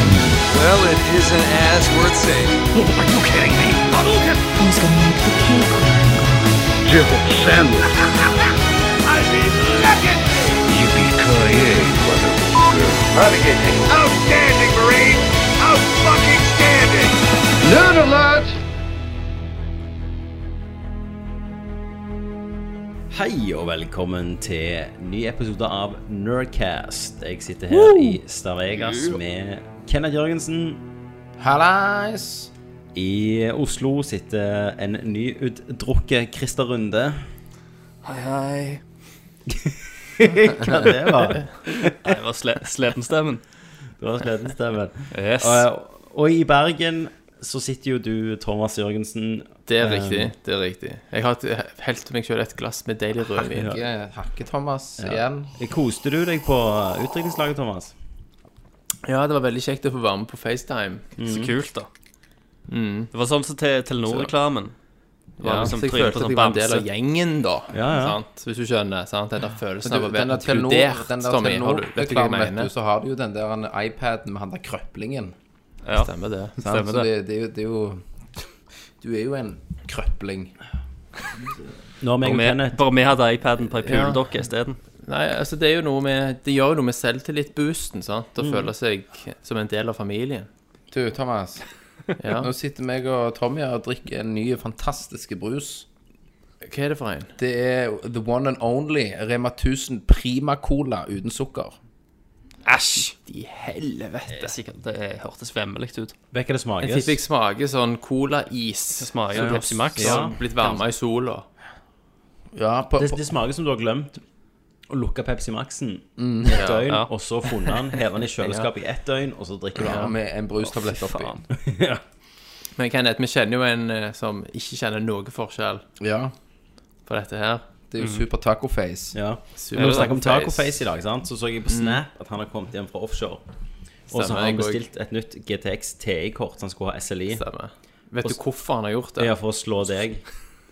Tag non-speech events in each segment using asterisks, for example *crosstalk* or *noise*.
Well, it isn't as worth saying. Are you kidding me? Hadouken! Who's gonna make the cake Jibble sandwich. I mean, legend! Yippee-ki-yay, motherfucker. Renegade. Outstanding, Marine! Out-fucking standing! Noon alert! Hei og velkommen til ny episode av Nerdcast. Jeg sitter her i Stavegas med Kenneth Jørgensen. Hallais! I Oslo sitter en nyutdrukket Christer Runde. Hei, *laughs* hei. Hva det var? Det var sle slepenstemmen. Det var sledestemmen. Yes. Og, og i Bergen så sitter jo du, Thomas Jørgensen. Det er riktig. Eh. det er riktig. Jeg har et- helt til meg selv et glass med deilig rødvin. Hakke, hakke Thomas igjen. Eh, Koste du deg på utdrikningslaget, Thomas? Ja, det var veldig kjekt å få være med på FaceTime. Mm. Så kult, da. Det var sånn som til Telenor-reklamen. Det var Ja, liksom så jeg trynet følte at sånn jeg var en del av bamse. gjengen, da. Ja, ja. Sant? Hvis du skjønner. sant? Den der følelsen Du, av å den være der Telenor- inkludert, den der Tommy. har du- Vet du hva jeg Telenor-reklamen, vet mener? du, så har du jo den der en iPaden med han der krøplingen. Ja, Stemmer det. sant? stemmer så det, det. det, er jo, det er jo *laughs* Du er jo en krøpling. Når meg Bare og vi- Kenneth Bare vi hadde iPaden på ei puledokke isteden. Nei, altså Det er jo noe med Det gjør jo noe med selvtillit-boosten. sant? Å Mm. føle seg som en del av familien. Du, Thomas. *laughs* Ja. Nå sitter meg og Tommy her og drikker en ny fantastisk brus. Hva er det for en? Det er the one and only Rema 1000 Prima Cola uten sukker. Æsj! I helvete. Det, er sikkert- det hørtes vemmelig ut. Vet hva det Jeg tipper jeg smakes? smaker sånn Cola-is. Det smaker jo Pepsi Max. Ja. Blitt varma i sola. Ja, på, Det, på, det smaker som du har glemt å lukke Pepsi Max-en et døgn, ja. og så funnet den, hevet den i kjøleskapet i ett døgn, og så drikker du ja, den. med en brustablett Fy oppi. faen. Men Kenneth, vi kjenner jo en eh, som ikke kjenner noe forskjell Ja. på dette her. Det Mhm. er jo super taco face. Ja. Super Når vi snakker om tacoface. tacoface i dag, sant? så så jeg på Snap at han har kommet hjem fra offshore. Og så Stemmer, har han jeg også. bestilt et nytt GTX TI-kort som skulle ha SLI. Stemmer. Vet Og- du hvorfor han har gjort det? Ja, for å slå deg.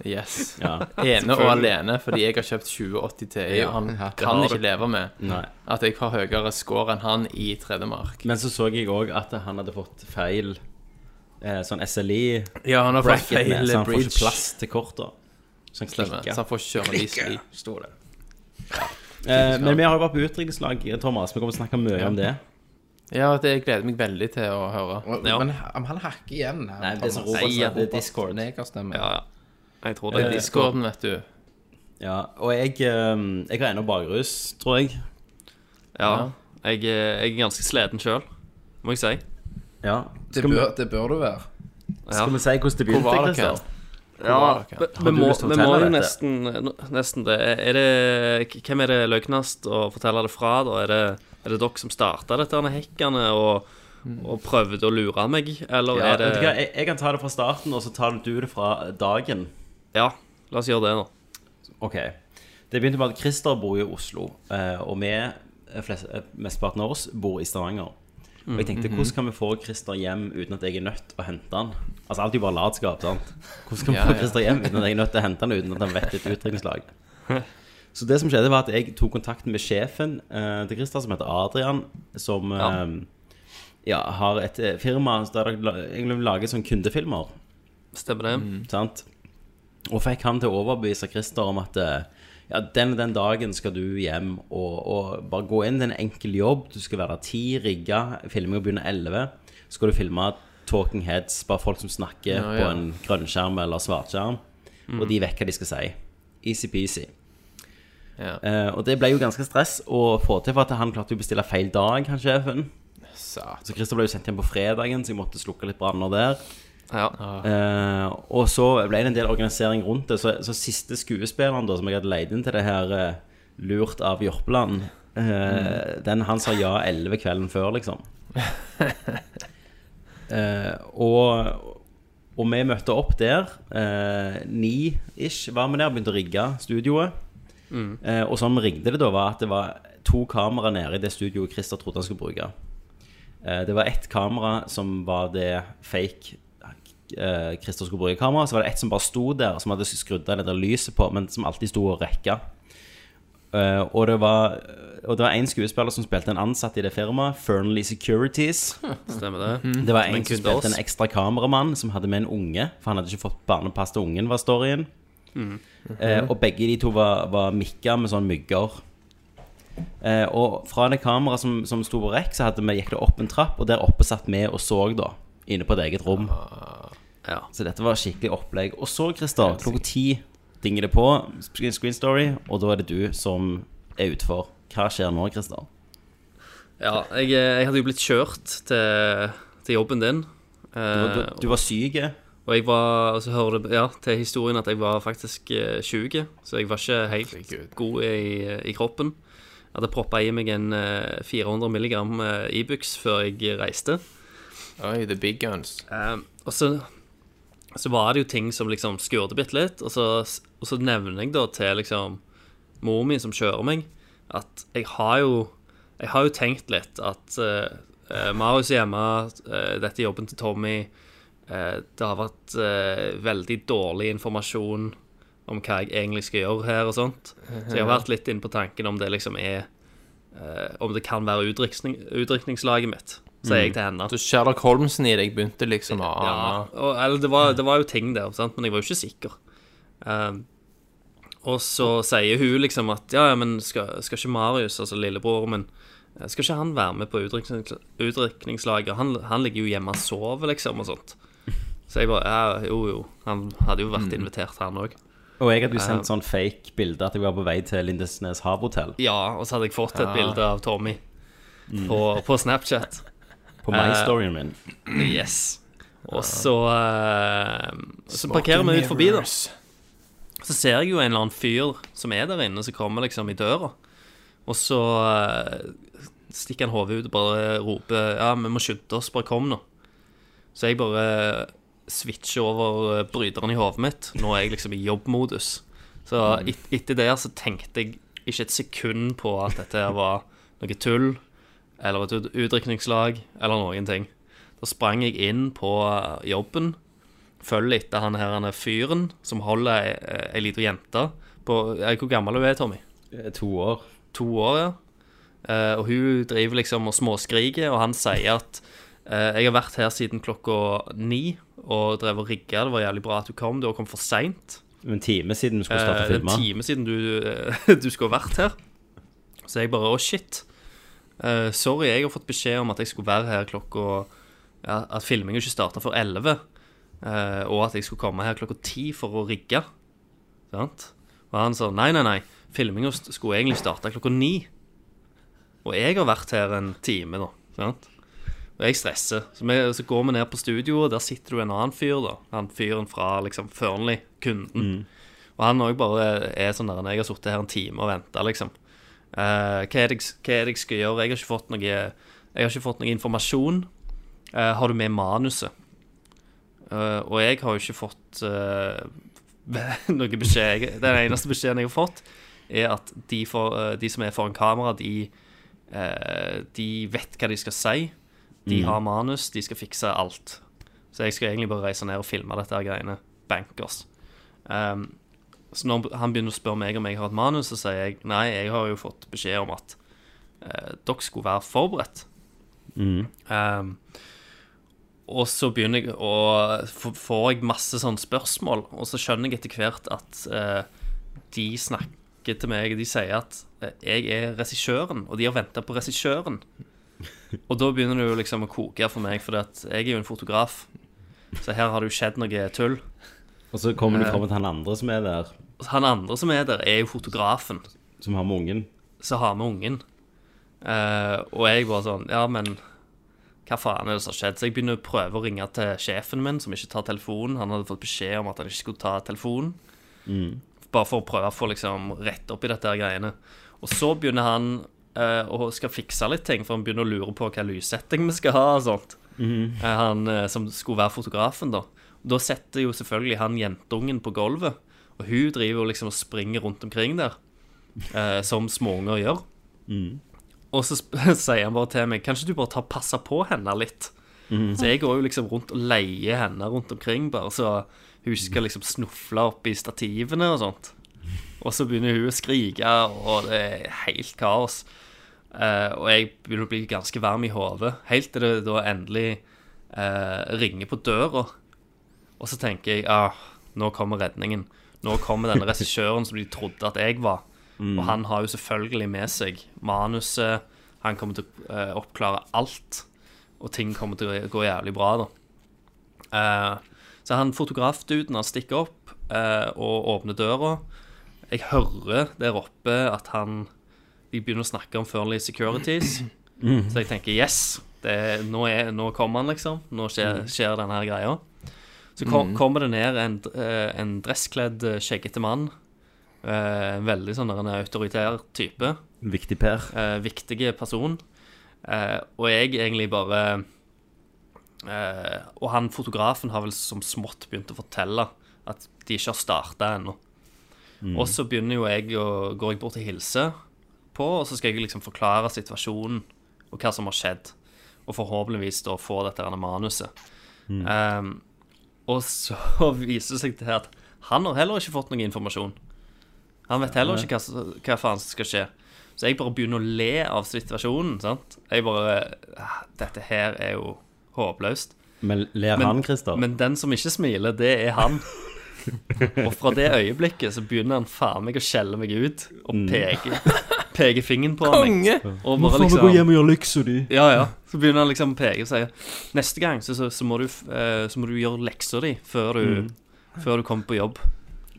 Yes. Ja. Ene og alene fordi jeg har kjøpt 2080 Ti, og han Ja, det kan ikke leve med Nei. at jeg har høyere score enn han i tredjemark. Men så så jeg òg at han hadde fått feil eh, sånn SLI-bracket, Ja, han har fått feil så han får bridge. ikke plass til korta. Så han Stemmer. Så klikka. han får ikke kjøre Leasley. Sto det. Eh, men vi har jo vært på utdrikningslag, Thomas. Vi kommer til å snakke mye om det. Ja, det gleder jeg meg veldig til å høre. Og- Ja. Men han han hakker igjen. Han, Nei, det er sånn så Thomas. Robert Nei, sa, det er Robert Discord. Negerstemme. Ja, ja. Jeg tror Det er det. Discorden, vet du. Ja, og jeg, eh, jeg har ennå bakrus, tror jeg. Ja. Jeg, er- jeg er ganske sliten sjøl, må jeg si. Ja. Det, Skal, vi, bør, det bør du være. skal vi si hvordan det Hvor begynte? var dere? Christer? Hvor var Vi dere? vi du må, lyst til å vi fortelle må jo dette? nesten, nesten det. Er det k- hvem er det løgnast å fortelle det fra, da? Er det, er det dere som starta dette her hekkene og, Mm. og prøvde å lure meg, eller Ja, er det vet du hva, jeg, jeg kan ta det fra starten, og så tar du det fra dagen. Ja, la oss gjøre det nå. Ok. Det begynte med at Christer bor i Oslo, eh, og vi, eh, flest- eh, mesteparten av oss, bor i Stavanger. Og jeg Mm, tenkte, mhm. hvordan kan vi få Christer hjem uten at jeg er nødt å hente han? Altså, alt er jo bare latskap, sant? Hvordan kan vi Ja, få ja. Christer hjem uten at jeg er nødt til å hente han, uten at han vet *laughs* et utdrikningslag? Så det som skjedde var at jeg tok kontakt med sjefen eh, til Christer, som heter Adrian, som eh, ja. har et eh, firma der de la- egentlig lager sånne kundefilmer Stemmer det? Mm. sant? Og fikk han til å overbevise Christer om at eh, ja, den og den dagen skal du hjem og, og bare gå inn. Det er en enkel jobb. Du skal være der ti rigga. Filminga begynner elleve. Så skal du filme talking heads, bare folk som snakker Ja, Mhm. på ja. en grønnskjerm eller svartskjerm. Og de vet hva de skal si. Easy-peasy. Ja. Eh, og det ble jo ganske stress å få til, for at han klarte jo å bestille feil dag, han sjefen. Satan. Så Christer ble jo sendt hjem på fredagen, så jeg måtte slukke litt branner der. Ja. Eh, og så ble det en del organisering rundt det. Så, så siste skuespilleren da, som jeg hadde leid inn til det her, eh, lurt av Jørpeland, eh, den han sa ja 11 kvelden før, liksom. Eh, og, og vi møtte opp der. eh, Ni-ish var vi der, begynte å rigge studioet. Eh, og sånn vi rigget det, da, var at det var to kamera nede i det studioet Christer trodde han skulle bruke. Eh, Det var ett kamera som var det fake eh, Christer skulle bruke kamera. Så var det ett som bare sto der, som hadde skrudd av det der lyset på, men som alltid sto og rekka. Eh, og det var Og det var en skuespiller som spilte en ansatt i det firmaet, Fernley Securities. Stemmer det? Det var en som Men kun til spilte en oss. ekstra kameramann som hadde med en unge, for han hadde ikke fått barnepass til ungen, var storyen. Eh, og begge de to var, var mikka med sånn mygger. Eh, og fra det kameraet som, som sto på rekk, så hadde vi, gikk det opp en trapp, og der oppe satt vi og så, da. Inne på et eget rom. Ja. Så dette var skikkelig opplegg. Og så, Christer, klokka ti dinger det på, screen, screen story, og da er det du som er utfor. Hva skjer nå, Christer? ja jeg, eh, jeg hadde jo blitt kjørt til, til jobben din. Du, du, Eh, du var syk. og jeg var, så hører du ja, til historien at jeg var faktisk eh, sjuk, så jeg var ikke helt god i, i kroppen. Jeg hadde proppa i meg en eh, 400 milligram eh, Ibux før jeg reiste. Oi, the big guns. Eh, og så, så var det jo ting som liksom skurte bitte litt, og så, og så nevner jeg da til liksom mor min som kjører meg, at jeg har jo, jeg har jo tenkt litt at eh, eh, Marius er hjemme, eh, dette er jobben til Tommy, eh, det har vært eh, veldig dårlig informasjon om hva jeg egentlig skal gjøre her og sånt. Så jeg har vært litt inne på tanken om det liksom er, eh, om det kan være utdrikning, utdrikningslaget mitt, sier jeg til henne. Så Sherlock Holmesen i deg begynte liksom å ane Ja, og, eller det var, det var jo ting der, sant? men jeg var jo ikke sikker. Ehm, og så sier hun liksom at ja, ja, men skal, skal ikke Marius, altså lillebroren min, eh, skal ikke han være med på utdriknings- utdrikningslaget? Han, han ligger jo hjemme og sover, liksom, og sånt. Så jeg bare ja, jo, jo. Han hadde jo vært invitert, han òg. Og jeg hadde jo sendt sånn fake bilde at jeg var på vei til Lindesnes havhotell Ja, Mm. og så hadde jeg fått et bilde av Tommy på, på Snapchat. på my-storyen min. Yes. Og så eh, Så parkerer vi ut forbi, da. Så ser jeg jo en eller annen fyr som er der inne, som kommer liksom i døra. Og så eh, stikker han hodet ut og bare roper Ja, vi må skynde oss, bare kom nå. Så jeg bare eh, switcher over eh, bryteren i hodet mitt. Nå er jeg liksom i jobbmodus. Så et, etter det så tenkte jeg ikke et sekund på at dette her var noe tull, eller et ut- utdrikningslag, eller noen ting. Da sprang jeg inn på eh, jobben følger etter han her han er fyren som holder ei, ei lita jente på eh, Hvor gammel hun er, Tommy? Eh, To år. To år, ja. Eh, og hun driver liksom og småskriker, og han sier at eh, 'Jeg har vært her siden klokka ni og drev og rigga. Det var jævlig bra at du kom. Du har kommet for seint. Det var En time siden vi skulle Eh, starte Det er filma. en time siden du, eh, *laughs* du skulle ha vært her. Så jeg bare Å, shit. Eh, sorry, jeg har fått beskjed om at jeg skulle være her klokka ja, At filminga ikke starta før 11. eh, og at jeg skulle komme her klokka 10 for å rigge. Sant? Og han sa nei, nei, nei. Filminga st- skulle egentlig starte klokka 9. Og jeg har vært her en time, da. Sant? Og jeg stresser. Så, vi, så går vi ned på studioet, der sitter du en annen fyr, da. Han fyren fra liksom Fearnley, kunden. Og han òg bare er sånn der Jeg har sittet her en time og venta, liksom. Eh, hva, er det, jeg- hva er det jeg skal gjøre? Jeg har ikke fått noe Jeg har ikke fått noe informasjon. Eh, har du med manuset? Eh, og jeg har jo ikke fått eh, *laughs* noe beskjed. Jeg, den eneste beskjeden jeg har fått, er at de, for, eh, de som er foran kamera, de, eh, de vet hva de skal si. De har manus, de skal fikse alt. Så jeg skal egentlig bare reise ned og filme dette her greiene. Bankers. Um, så når han begynner å spørre meg om jeg har et manus, så sier jeg nei, jeg har jo fått beskjed om at eh, dere skulle være forberedt. Ehm, og så begynner jeg å f- Får jeg masse sånne spørsmål, og så skjønner jeg etter hvert at eh, de snakker til meg De sier at eh, jeg er regissøren, og de har venta på regissøren. Og da begynner det jo liksom å koke for meg, for jeg er jo en fotograf. Så her har det jo skjedd noe tull. Og så kommer du fram til han andre som er der, Han andre som er der, er jo fotografen. som har med ungen. så har vi ungen. Eh, og jeg bare sånn Ja, men hva faen er det som har skjedd? Så jeg begynner å prøve å ringe til sjefen min, som ikke tar telefonen. Han hadde fått beskjed om at han ikke skulle ta telefonen. Bare for å prøve å få liksom rett opp i dette her greiene. Og så begynner han eh, å skal fikse litt ting, for han begynner å lure på hva lyssetting vi skal ha og sånt. Eh, han eh, som skulle være fotografen, da. Da setter jo selvfølgelig han jentungen på gulvet, og hun driver jo liksom og springer rundt omkring der eh, som småunger gjør. Og så sp- *laughs* sier han bare til meg Kan ikke du bare ta og passe på henne litt? Så jeg går jo liksom rundt og leier henne rundt omkring, bare så hun ikke skal liksom snufle opp i stativene og sånt. Og så begynner hun å skrike, og det er helt kaos. Eh, og jeg begynner å bli ganske varm i hodet, helt til det da endelig eh, ringer på døra. Og så tenker jeg ah, nå kommer redningen. Nå kommer denne regissøren som de trodde at jeg var. Og han har jo selvfølgelig med seg manuset. Han kommer til å eh, oppklare alt. Og ting kommer til å gå jævlig bra, da. Eh, så han fotografduden han stikker opp eh, og åpner døra. Jeg hører der oppe at han De begynner å snakke om Furley Securities. Så jeg tenker yes, det, er- nå, er, nå kommer han, liksom. Nå skjer, skjer denne her greia. Så kom, kommer det ned en, d- eh, en dresskledd, eh, skjeggete mann. Eh, en veldig sånn der en autoritær type. Viktig, Per. Eh, viktige person. Eh, og jeg egentlig bare eh, Og han fotografen har vel som smått begynt å fortelle at de ikke har starta ennå. Og så begynner jo jeg å går jeg bort og hilser på, og så skal jeg liksom forklare situasjonen og hva som har skjedd. Og forhåpentligvis da få dette her manuset. Eh, og så *laughs* viser det seg til at han har heller ikke fått noe informasjon. Han vet heller ikke hva, som- hva faen som skal skje. Så jeg bare begynner å le av situasjonen. sant? Jeg bare «Ah, Dette her er jo håpløst. Men ler Men- han, Christer? Men den som ikke smiler, det er *laughs* han. Og fra det øyeblikket så begynner han faen meg å skjelle meg ut og Mm. peke, peke fingeren på meg. Konge! Og bare liksom, og gjøre leksa di. ja, ja. Så begynner han liksom å peke og sier Neste gang så, så, så, må, du, f- eh, så må du gjøre leksa di før du, Mm. før du kommer på jobb.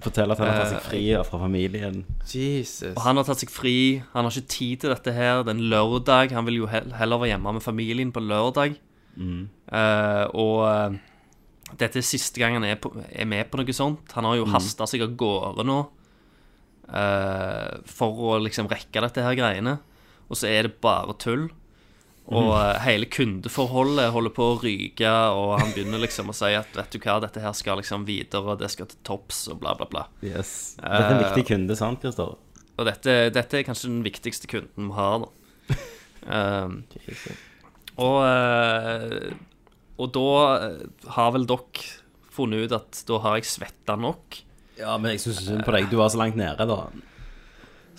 Fortell at han har tatt seg fri fra familien. Jesus. Og han har tatt seg fri, han har ikke tid til dette her. Det er en lørdag, han vil jo he- heller være hjemme med familien på lørdag. Eh, og eh, dette er siste gang han er, på, er med på noe sånt. Han har jo hasta seg av gårde nå eh, for å liksom rekke dette her greiene. Og så er det bare tull. Og eh, hele kundeforholdet holder på å ryke, og han begynner liksom å si at vet du hva, dette her skal liksom videre, og det skal til topps, og bla, bla, bla. Yes. Eh. Dette er en viktig kunde, sant, Christer? Og dette, dette er kanskje den viktigste kunden vi har, da. *laughs* Ehm, og, eh, og da eh, har vel dere funnet ut at da har jeg svetta nok. Ja, men jeg syns synd på deg. Du var så langt nede, da.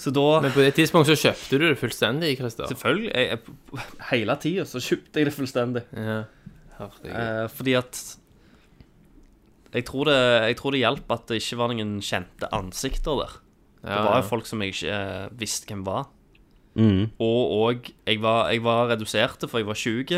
Så da Men på det tidspunktet så kjøpte du det fullstendig, Christer. Selvfølgelig. Jeg, jeg, *laughs* hele tida så kjøpte jeg det fullstendig. Ja. Herregud. Eh, fordi at jeg tror, det, jeg tror det hjalp at det ikke var noen kjente ansikter der. Det var jo folk som jeg ikke eh, visste hvem var. Og òg jeg, var- jeg var reduserte, for jeg var sjuk.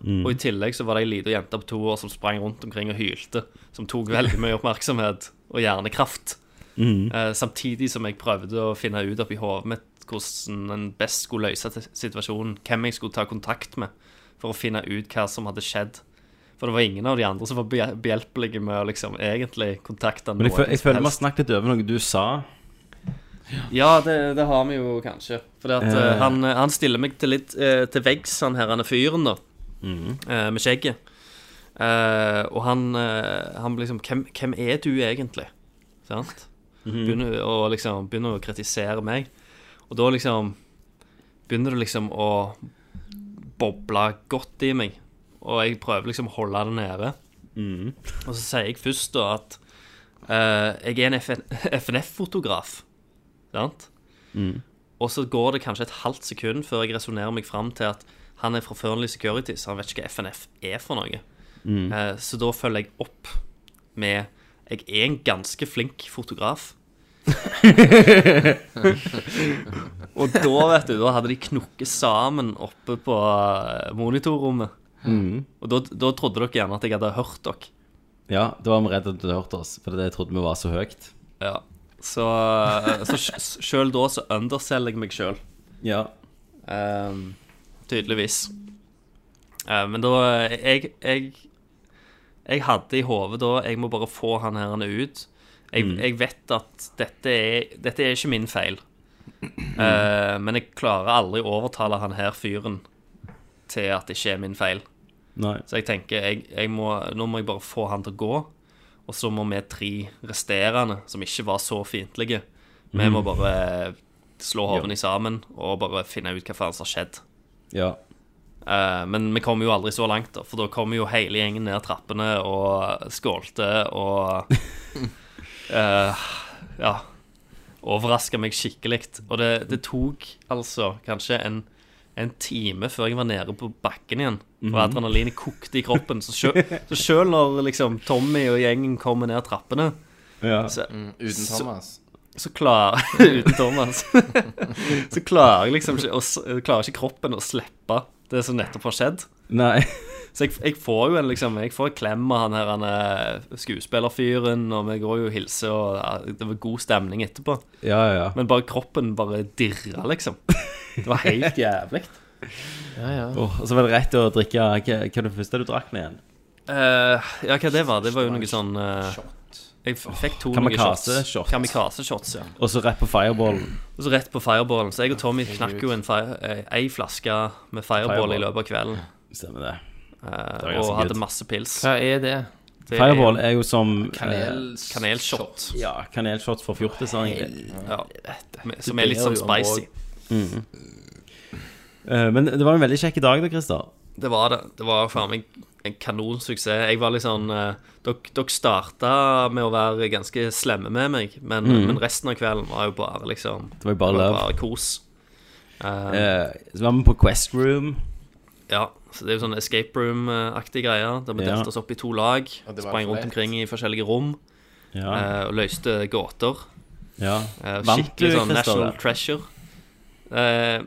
Mm. Og i tillegg så var det ei lita jente på to år som sprang rundt omkring og hylte. Som tok veldig mye oppmerksomhet og hjernekraft. Mm. Eh, samtidig som jeg prøvde å finne ut oppi hodet mitt hvordan en best skulle løse t- situasjonen. Hvem jeg skulle ta kontakt med for å finne ut hva som hadde skjedd. For det var ingen av de andre som var bje- behjelpelige med å liksom egentlig kontakte noen. Men jeg, føl jeg som føler vi har helst. snakket litt over noe du sa. Ja, det, det har vi jo kanskje. For at, eh, Eh. han, han stiller meg til litt eh, til veggs, han her han er fyren, da. eh, med skjegget. Eh, og han, eh, han blir liksom hvem, 'Hvem er du egentlig?' Sant? Begynner å liksom Begynner å kritisere meg. Og da liksom Begynner det liksom å boble godt i meg. Og jeg prøver liksom å holde det nede. Og så sier jeg først da at eh, jeg er en FN FNF-fotograf. Sant? Og så går det kanskje et halvt sekund før jeg resonnerer meg fram til at han er fra Fearnley Security, så han vet ikke hva FNF er for noe. Mm. Eh, så da følger jeg opp med Jeg er en ganske flink fotograf. og da, vet du, da hadde de knukket sammen oppe på eh, monitorrommet. Og da, da trodde dere gjerne at jeg hadde hørt dere. Ja, da var vi redd at du hørte oss, for det trodde vi var så høyt. Ja. Så, eh, så sj- sjøl da så underselger jeg meg sjøl. Ja. Ehm, tydeligvis. Eh, men da jeg, jeg, jeg hadde i hodet da Jeg må bare få han her ut. Jeg, jeg vet at dette er, dette er ikke min feil. Eh, men jeg klarer aldri å overtale han her fyren til at det ikke er min feil. Nei. Så jeg tenker jeg, jeg må, nå må jeg bare få han til å gå. Og så må vi tre resterende, som ikke var så fiendtlige, vi må bare slå hodene sammen og bare finne ut hva faen som har skjedd. Ja. Eh, men vi kom jo aldri så langt, da, for da kom jo hele gjengen ned trappene og skålte og eh, Ja. overraska meg skikkelig. Og det, det tok altså kanskje en, en time før jeg var nede på bakken igjen. For adrenalinet kokte i kroppen. Så sjøl, så selv når liksom Tommy og gjengen kommer ned trappene, Ja. så, Uten Thomas. så klarer *laughs* Uten Thomas. så klarer jeg liksom ikke, å s- klarer ikke kroppen å slippe det som nettopp har skjedd. Nei. *laughs* Så jeg, jeg får jo en liksom Jeg får en klem av han her han eh, skuespillerfyren, og vi går jo og hilser, og ja, det var god stemning etterpå. Ja, ja. Men bare kroppen bare dirra, liksom. Det var *laughs* helt jævlig. Ja, ja. Åh, og så var det rett å drikke Hva, hva var det første du drakk med igjen? Eh, ja, hva det var? Det var jo noe sånn eh, Jeg f- fikk to noen kamikaze-shots. Kamikaze-shots, ja. Og så rett på fireballen. Og så rett på fireballen. Så jeg og Tommy knakk jo en fire, eh, ei flaske med fireball i Fireball. løpet av kvelden. Stemmer det. eh, var og ganske hadde good. masse pils. Hva er det? Det er Fireball er jo som eh, Kanelshot. ja, kanelshots for fjortiser. egentlig. Ja. Som er litt sånn spicy. Eh, Men det var en veldig kjekk dag da, Christer. Det var det. Det var faen meg en kanonsuksess. Jeg var litt sånn eh, Dere, dere starta med å være ganske slemme med meg, men, men resten av kvelden var jo bare liksom Det var jo Mm. bare det var love. bare kos. Eh, Eh, Så var vi på Quest Room. ja, så det er jo sånn escape room-aktig greier. Der vi Ja. delte oss opp i to lag. det var Sprang rundt flaut. omkring i forskjellige rom Ja. eh, og løste gåter. ja. Eh, Vant du, skikkelig sånn National Christer? Treasure. Eh,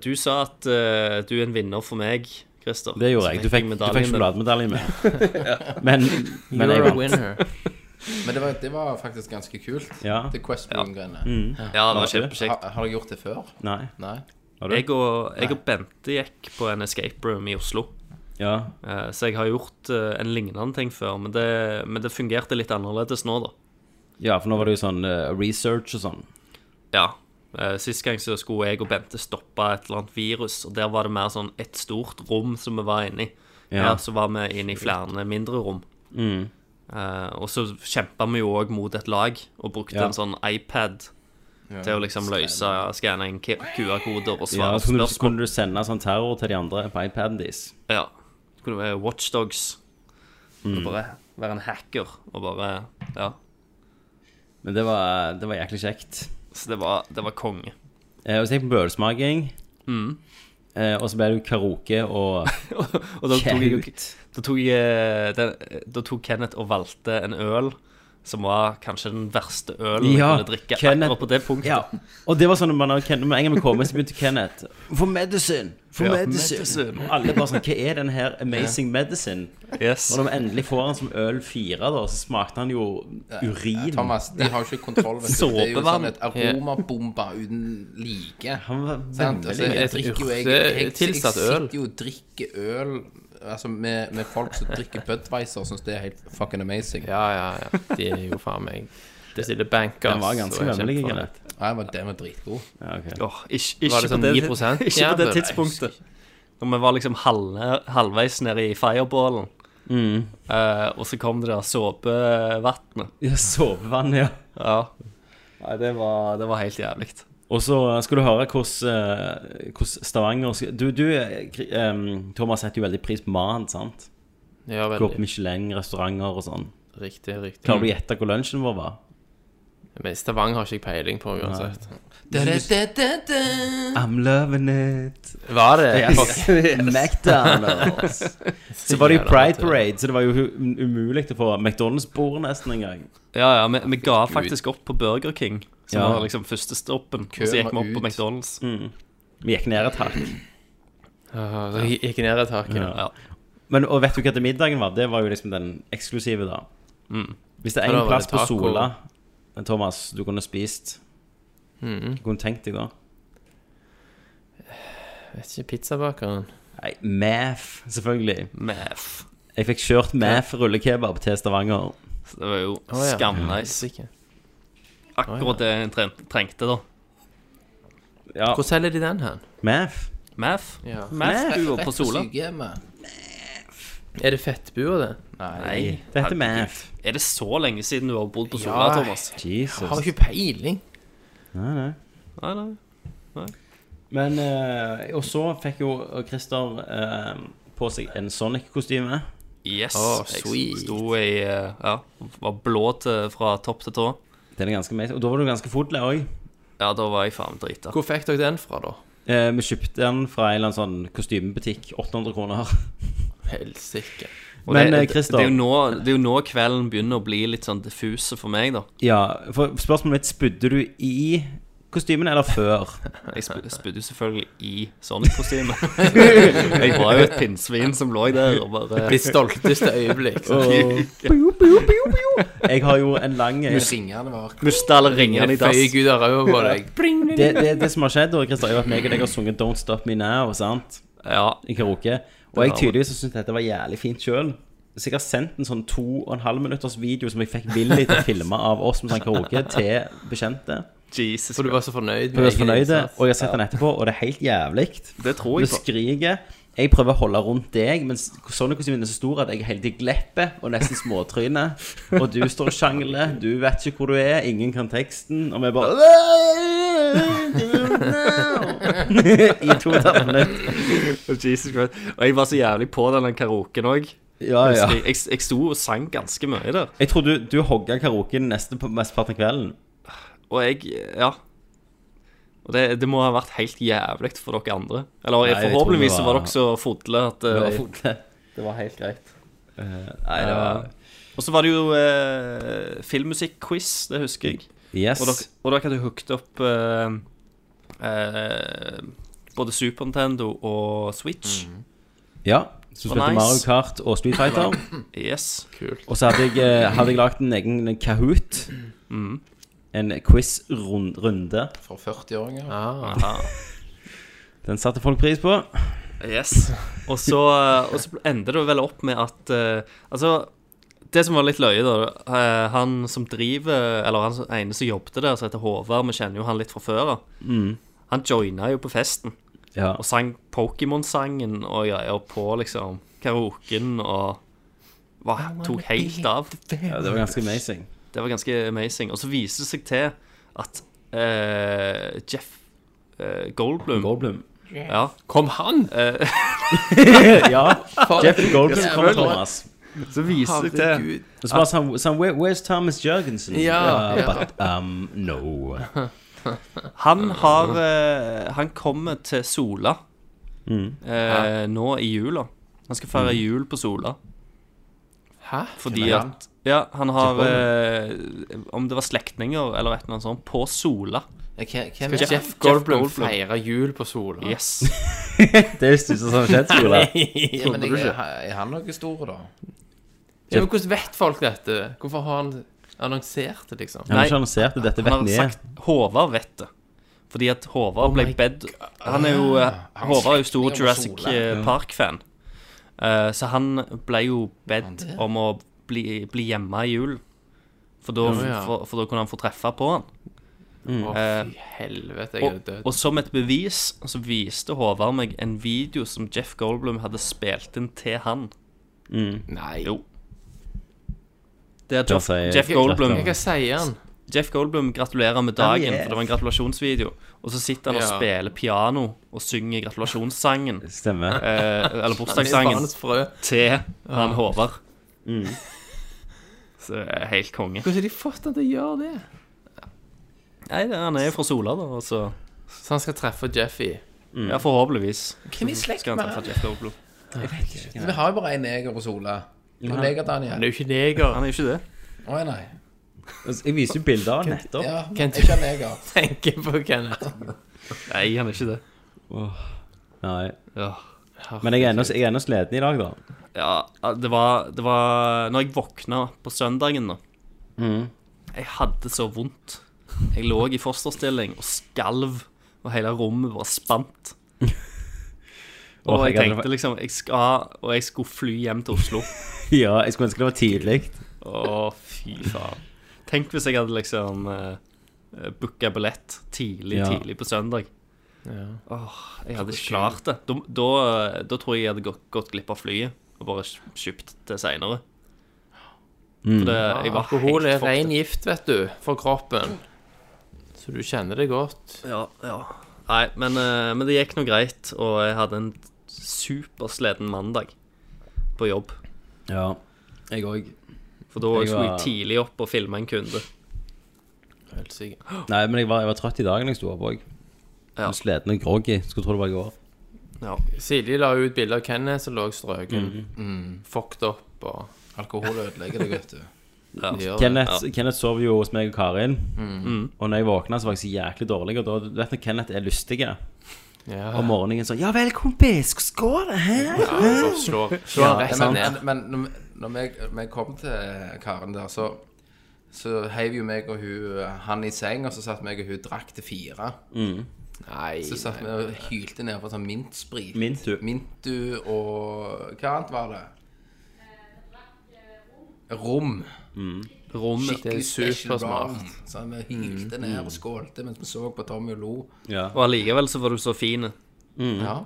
du sa at eh, du er en vinner for meg, Christer. Det Så gjorde jeg. Du fikk, du fikk medaljen din. sjokolademedalje med. *laughs* Men, men jeg You're a vant. winner. Men det var, det var faktisk ganske kult. Ja. Det Quest Room-greiene. Ja, det var Var det? kjempekjekt. Har, har jeg gjort det før? Nei. Nei. Har Jeg du? og, jeg og Bente gikk på en escape room i Oslo. Ja. Eh, Så jeg har gjort eh, en lignende ting før, men det, men det fungerte litt annerledes nå, da. ja, for nå var det jo sånn eh, research og sånn. Ja. Eh, Sist gang så skulle jeg og Bente stoppe et eller annet virus, og der var det mer sånn et stort rom som vi var inne i. Ja. Mm. Her så var vi inne i flere mindre rom. Eh, og så kjempa vi jo òg mot et lag, og brukte Ja. en sånn iPad til å liksom løse skanne inn QR-koder og Ja, svare så kunne du, så spørsmål. kunne du sende sånn terror til de andre på iPaden deres. Ja. Det kunne være Watchdogs. Mm. Bare være en hacker og bare Ja. Men det var, det var jæklig kjekt. Så det var, det var konge. Eh, og så gikk vi på ølsmaking. Eh, og så ble det jo karaoke og *laughs* Og Mm. *laughs* Kjent. da tok jeg, da tok, jeg eh, den, da tok Kenneth og valgte en øl som var kanskje den verste ølen Ja, jeg kunne drikke Kenneth- akkurat på det punktet. Ja. Og det var sånn at man hadde Kenneth, med en gang vi kom inn, så begynte Kenneth For medicine! For Ja, medicine! medicine. Og alle bare sånn Hva er den her amazing medicine? Yes. Og når vi endelig får han som øl fire, da, så smakte han jo urin. Thomas, de har jo ikke kontroll. Vet du. Det er jo sånn Såpevann. et aromabombe uten like. Han var Sant? Altså, veldig jeg Et drikker jo jeg, urte- jeg, jeg tilsatt øl. sitter jo og drikker øl altså med, med folk som drikker Budwiser og syns det er helt fucking amazing. Ja, ja, ja. De er jo faen meg Hvis de er bankers Den var så ganske er jeg vemmelig, kjempe for det. Kenneth. Nei, men den var dritgod. Ja, ok. Åh, ikke, ikke, Var det på sånn det, 9%? *laughs* ikke på det Jævlig. tidspunktet. Når vi var liksom halve, halvveis nede i fireballen, eh, og så kom det der såpevannet. Ja, Sovevann, ja. Ja. Nei, det var, det var helt jævlig. Og så skal du høre hvordan, eh, hvordan Stavanger Du, du eh, Kri- em, Thomas setter jo veldig pris på mat, sant? Ja, Gå på veldig. Mm. Michelin-restauranter og sånn. Riktig, riktig. Klarer du å gjette hvor lunsjen vår var? Men Stavanger har ikke jeg peiling på uansett. I'm loving *laughs* it. Var det? McDonald's. *laughs* Så var det jo Jævla Pride naturlig. Parade, så det var jo hu- um- umulig å få McDonald's-bord nesten en gang. Ja, ja, vi, vi ga faktisk opp på Burger King, som Ja. var liksom første stoppen. Og så Køen gikk vi var opp på ut. McDonald's. Vi gikk ned et hakk. Ja, så jeg gikk ned et tak. Ja. Ja. Men og vet du hva til middagen var? Det var jo liksom den eksklusive, da. Mm, Hvis det er Ja, en da var plass det på taco. Sola men Thomas, du kunne spist Mm. Hva kunne du tenkt deg da? Vet ikke, pizzabakeren. Nei, Math, selvfølgelig. Mæf. Jeg fikk kjørt Math rullekebab til Stavanger. Så det var jo Å, ja. skamnice. Sikker. Akkurat det en tren- trengte, da. Ja, Hvor selger de den hen? Math. Mæf. Ja. Mæf-bua på Sola. sykehjemmet. Er det fettbuer, det? Nei. Det heter Math. Er det så lenge siden du har bodd på Sola, Ja. Thomas? Jesus. Har ikke peiling. Nei, nei. Nei, nei. Men eh, Og så fikk jo Christer eh, på seg en Sonic-kostyme. Yes. Å, jeg sweet. sto i eh, Ja, var blå til, fra topp til tå. Den er ganske amazing. Og da var du ganske fodla òg. Ja, da var jeg faen drita. Hvor fikk dere den fra, da? Eh, vi kjøpte den fra en eller annen sånn kostymebutikk. 800 kroner. Helsike. Og Men, eh, det, det, Christer- det, er jo nå, det er jo nå kvelden begynner å bli litt sånn diffuse for meg, da. Ja, for spørsmålet mitt Spydde du i kostymen eller før? Jeg sp- spydde jo selvfølgelig i Sonic-kostyme. *laughs* jeg var jo et pinnsvin som lå der og bare Ditt stolteste øyeblikk. sant? *laughs* Jeg har jo en lang eh, det, Ringene var mista alle ringene i Jeg dass. føyer Gud av ræva på deg. det, det som har skjedd, da, Christer, er jo at meg og deg har sunget 'Don't Stop Me Now' sant? *laughs* Ja, i karaoke. Og jeg tydeligvis har syntes dette var jævlig fint sjøl. Så jeg har sendt en sånn to og en halv minutters video som jeg fikk villig til å filme av oss med sånn karaoke, til bekjente. Jesus For du Christ. var så fornøyd Hun med er så egen fornøyd, innsats. og jeg har sett den etterpå, og det er helt jævlig. Det tror Du jeg på. skriker. Jeg prøver å holde rundt deg, men Sonic-kostymen er så stor at jeg hele tiden glepper og nesten småtryner. Og du står og sjangler, du vet ikke hvor du er, ingen kan teksten, og vi bare *laughs* I to og et halvt minutt. *laughs* Jesus Christ. Og jeg var så jævlig på den karaoken òg. Ja, Ah, ja. Jeg, jeg, jeg sto og sang ganske mye der. Jeg tror du, du hogga karaoken neste på mesteparten av kvelden. Og jeg Ja. Og det, det må ha vært helt jævlig for dere andre. Eller Nei, jeg tror forhåpentligvis det så var- var dere så fodle at eh, Det var helt greit. nei, det var Eh, Og så var det jo eh, filmmusikk-quiz, det husker jeg. Yes. Og dere, og dere hadde hooket opp eh, eh, både Super Nintendo og Switch. Mm. ja. Så Og spilte nice. Mario Kart og *laughs* Street Fighter. Yes. og så hadde jeg, eh, hadde jeg lagd en egen Kahoot. Mm. En quiz-runde. for 40-åringer. Ah, Aha. Den satte folk pris på. Yes. Og så, eh, og så endte det vel opp med at eh, Altså, det som var litt løye, da eh, Han som driver Eller han som- ene som jobbet der, som heter Håvard, vi kjenner jo han litt fra før av. Mm. Han joina jo på festen Ja. og sang Pokémon-sangen og greier på, liksom. Karaoken og var, Tok helt av. ja, det var ganske amazing. Det var ganske amazing. Og så viser det seg til at eh, Jeff eh, Goldblum, Goldblum. Ja, kom han? *laughs* ja. Jeff Goldblum kommer, Thomas. så viser det seg til Herregud. Og så var det sånn sånn, Where, Where's Thomas Jørgensen? Ja, ja. But um, no. Han har eh, Han kommer til Sola eh, nå i jula. Han skal feire jul på Sola Hæ? fordi at Ja, han har eh, Om det var slektninger eller et eller annet sånt, på Sola. Hvem, hvem Jeff, er Jeff Goldblum Goldblum. feirer jul på Sola. Yes. Det er ikke sånn *laughs* skjedskole. ja, men jeg, er han noe stor, da? Ja, men hvordan vet folk dette? Hvorfor har han annonsert det, liksom? Han har Nei, ikke annonsert det. Dette Han vet har vi. sagt Håvard vet det. Fordi at Oh Håvard ble bedt Han er Ah, jo eh, Håvard er jo stor slektning av Jurassic Sola. eh, Park-fan. Eh, så han ble jo bedt det? om å bli, bli hjemme i jul. For da, Ja, ja. For, for da kunne han få treffe på han. Å, fy helvete, jeg er Mm. Eh, Og, død. og som et bevis så viste Håvard meg en video som Jeff Goldblum hadde spilt inn til han. Nei. Jo. Der Mm. Da Jeff, sier Jeff Goldblum Gratulerer. Hva sier han? Jeff Goldblum gratulerer med dagen, Oh, yeah. for det var en gratulasjonsvideo. Og så sitter han og Ja. spiller piano og synger gratulasjonssangen, Stemmer. eh, eller Han er bursdagssangen, faens frø. til han Håvard. Mm. *laughs* Så det er helt konge. Hvordan har de fått han til å gjøre det? Nei, det- han er jo fra Sola, da, og så Så han skal treffe Jeffy. *laughs* Ja, forhåpentligvis Hvem i slekt skal han treffe Jeff Goldblum. Vi har jo bare én neger på Sola. Det er deg, Han Daniel. er jo ikke neger. Han er jo ikke det. Å nei. Altså, Jeg viser jo bilder av han nettopp. Ja, Kan jeg du- er ikke neger. Tenker på Kenneth. Nei, han er ikke det. Nei. Ja. Men jeg er ennå- jeg er ennå sliten i dag, da. *laughs* Ja, det var, det var Når jeg våkna på søndagen da Mm. Jeg hadde så vondt Jeg lå i fosterstilling og skalv Og hele rommet var spant *laughs* Og Åh, jeg jeg hadde- tenkte liksom Jeg skal, og jeg skulle fly hjem til Oslo Ja, jeg skulle ønske det var tidlig. Å fy faen Tenk hvis jeg hadde liksom eh, eh, Booket billett tidlig, Ja. tidlig på søndag Ja. Åh, jeg hadde ikke klart det da, da, da tror jeg jeg hadde gått, gått glipp av flyet Og bare kjøpt det senere Mm. For det, Eh, jeg var Ah, Alkohol helt er fucked. ren gift, vet du, for kroppen. Så du kjenner det godt. Ja, ja. Nei, men, eh, men det gikk nå greit, og jeg hadde en supersliten mandag på jobb. Ja. Jeg òg. For da Jeg skulle var- jeg tidlig opp og filme en kunde. Helt sikkert. Nei, men jeg var, jeg var trøtt i dag når jeg sto opp òg. Ja. Sliten og groggy. Skulle tro det var i går. Ja. Silje la jo ut bilde av Kenneth som lå strøken. Mm. Fucked up og Alkohol ødelegger deg, *laughs* vet du. Ja. de gjør det. Kenneth, Kenneth sov jo hos meg og Karin. Mm. Og når jeg våkna, så var jeg så jæklig dårlig. Og da du vet når Kenneth er lystig om Ja. morgenen sånn Ja vel, kompis, hvordan går det? Hæ? Ja, slår, slår han rett men, ned. men, men når vi- når vi kom til Karen der, så, så heiv jo meg og hun eh, han i seng, og så satt meg og hun drakk til fire. Nei. Så satt vi og hylte ned på sånn mintsprit. Mintu. Mintu og Hva annet var det? Rom. Rom Det er Skikkelig special supersmart. Mm, rom. Så vi hylte ned og skålte mens vi så på Tommy og lo. Ja. Og allikevel så var du så fin. Mm. Ja.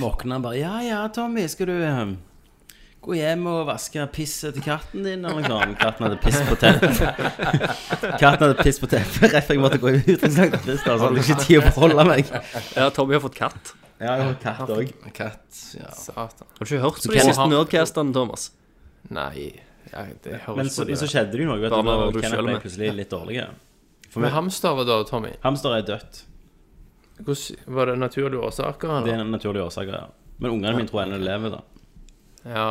Våkna han bare Ja ja, Tommy, skal du eh, gå hjem og vaske pisset til katten din? Eller noe sånt. Katten hadde piss på *laughs* teppet. katten hadde piss på teppet rett før jeg måtte gå ut. og snakke piss, da, Så hadde jeg ikke tid å forholde meg. Ja, Tommy har fått katt. Ja, jeg har katt òg. Katt. Ja. Satan. Har du ikke hørt på Kenneth- de siste nerdcastene, Thomas? Nei. Ja, det høres Men på så, de men så der. skjedde det jo noe. Vet Bare du, da var du selv Kenneth ble med. plutselig litt dårlig. Men hamstere da, Tommy? Hamster er dødt. Hvordan, var det naturlige årsaker? Det er Eller? en naturlig årsak. Ja. Men ungene mine tror ennå lever, da. Ja,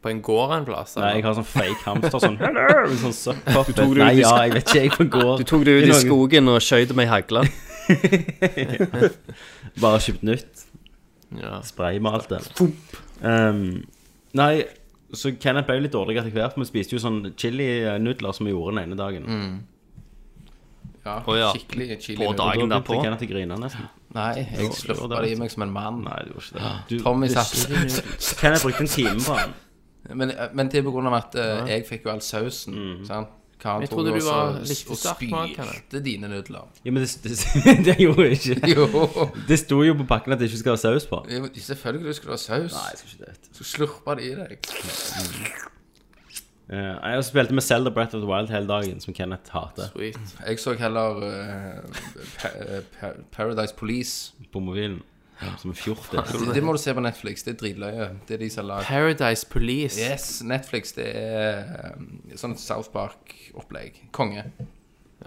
på en gård en plass? Nei, jeg har sånn fake hamster *laughs* sånn Hello! *laughs* Sånn sopppuppet. Nei, ja, jeg vet ikke, jeg får gå. Du tok det ut i Norge. skogen og skjøt med ei hagle. Bare kjøpt nytt. Ja. Spraymalt det. Um, nei, så Kenneth ble jo litt dårlig etter hvert, for vi spiste jo sånn chilinudler som vi gjorde den ene dagen. Mm. Ja, Å, ja. Skikkelig chili. På Da dagen begynte derpå. Kenneth å grine nesten. Nei, jeg slurpa det i meg som en mann. Nei, det gjorde *gasps* ikke det. Du, Tommy du- satt Kenneth brukte en time på han. Men, men det er på grunn av at eh, jeg fikk jo all sausen. Sant? Karen Mm. Jeg tok trodde jo du var også litt og sterk smak, Kenneth. spylte dine nudler. *laughs* Ja, men det, det, *laughs* det gjorde jeg ikke. Jo, Det sto jo på pakken at det ikke skal ha saus på. jo, selvfølgelig skulle du ha saus. Nei, jeg skal ikke det. Så slurpa det i deg. Eh, nei, og så spilte vi Zelda Breath of the Wild hele dagen, som Kenneth hater, Sweet. Jeg så heller eh, pa eh, pa Paradise Police. på mobilen. Som en fjortis. Det, det må du se på Netflix. Det er dritløye. Det er de som har lagd Paradise Police. Yes, Netflix. Det er eh, sånn South Park-opplegg. Konge.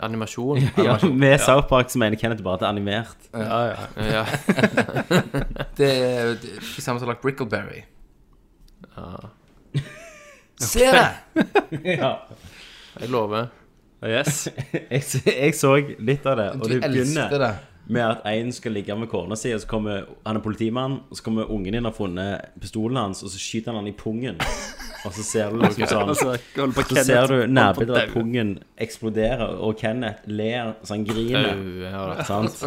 Animasjon. *laughs* Ja, med South Park så mener Kenneth bare at det er animert. Ja. Eh, Det er det er de samme som har lagd Brickleberry. *laughs* Se det! Ja. Jeg lover. Yes. *laughs* Jeg, s- jeg så litt av det, og Du det elsker begynner det. med at en skal ligge med kona si, og så kommer han er politimann, og så kommer ungen din og har funnet pistolen hans, og så skyter han han i pungen. Og så ser du liksom sånn *laughs* Altså, holder på Så ser du nærbildet av Holder på å dø. pungen eksplodere, og Kenneth ler så han griner. Au, ja da. Sant?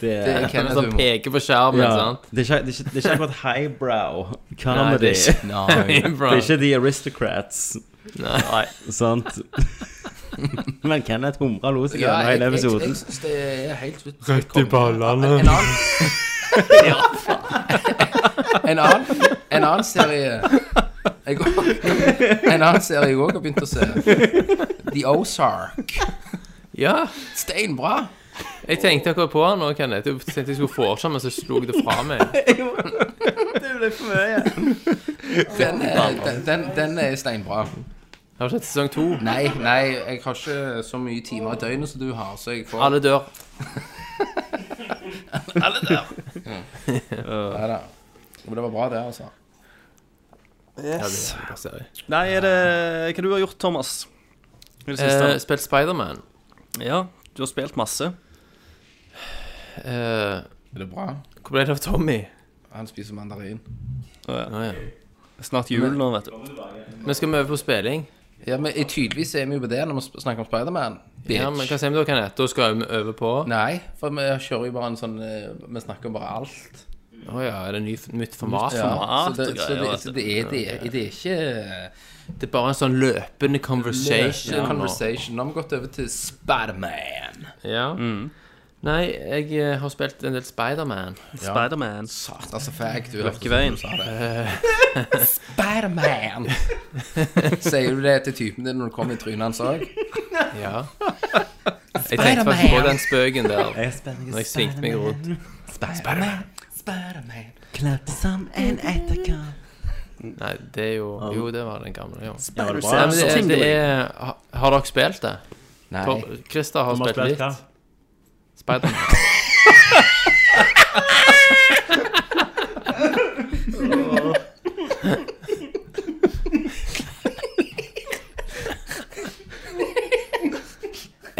Det Det er er Det er sånn Kenneth-humor. peker på skjermen, ja, sant? det er ikke, det er ikke, det er ikke akkurat highbrow Nei, comedy. det er ikke- *laughs* Nei. Det er ikke The Aristocrats, Nei. sant? Men Kenneth humra og lo seg Ja, jeg, gjennom hele jeg, jeg, episoden. synes det er helt Rett i ballene. En annen *laughs* en, annen, en annen serie jeg, En annen serie jeg òg har begynt å se. The Ozark. Ja, Steinbra. jeg tenkte akkurat på han nå, Kenneth. Jeg tenkte jeg skulle foreslå, men så slo jeg det fra meg. Den er, den, den, den er steinbra. Har du sett sesong to? Nei, nei, jeg har ikke så mye timer i døgnet som du har, så jeg får Alle dør. Alle der. Nei da. Men det var bra, det, altså. Nei, er det Hva du har gjort, Thomas? I det Eh, siste? spilt Spiderman. Eh, Ja, du har spilt masse. Eh, Er det bra? hvor ble det av Tommy? Han spiser mandarin. Å, ja. Snart jul nå, vet du. Men skal vi over på spilling? Ja, men i- Tydeligvis er vi jo på det når vi sp- snakker om Spiderman. Bitch. Ja, men Hva sier vi da, Kenneth? Da skal vi over på Å Nei, for vi kjører jo bare en sånn eh, Vi snakker om bare alt. ja, er det ny, nytt format? så format det, og så greier, det, vet så det, er, det, er, det er ikke Det er bare en sånn løpende conversation. Løpende nå. conversation. Nå har vi gått over til Spiderman. Ja. Nei, jeg eh, har spilt en del Spiderman. Spiderman. Satan, så fæk du hørte veien. sa det. *laughs* Spiderman! Sier du det til typen din når du kommer i trynet hans òg? Ja. Jeg tenkte faktisk på den spøken der Jeg er spent. når jeg svingte meg rundt. Spiderman. Klapp som en etterkamp. Nei, det er jo Jo, det var den gamle, ja. Ja, var det Nei, bra? men det, det er, har, har dere spilt det? Nei. Tor- Christer har Vi har spilt spilt litt. hva? *laughs* Spiderman.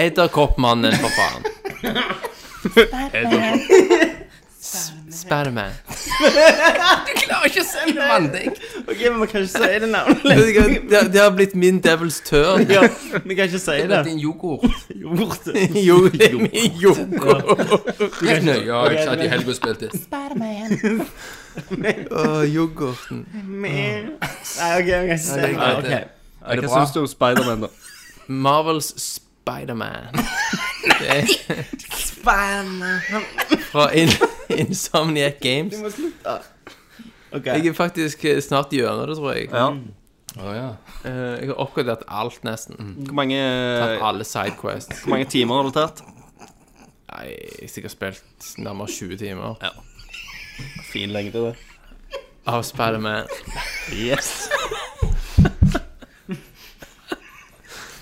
Edderkoppmannen, for *laughs* faen. Spiderman. Ok, men vi kan ikke si det *laughs* navnet. *laughs* Det, det har blitt min devil's turn. Ja, vi kan ikke si det. Det er en *laughs* yoghurt. Gjort *laughs* det. Jo, det er min jo. Helt nøye. Ja, jeg satt i helga og spilte. Å, yoghurten. Nei, ok, vi kan ikke si det. Nei, Ok. det- Er Hva det bra? syns du om Spiderman, da? Marvels Spiderman. Spiderman Fra In Insomniac Games. Ok. Jeg er faktisk eh, snart gjennom det, tror jeg. Å ja. Eh, Jeg har oppgradert alt, nesten. Hvor mange, Tatt alle sidequests. hvor mange timer har du tatt? Nei, jeg har sikkert spilt nærmere 20 timer Fin lengde, det. av Spiderman. Yes.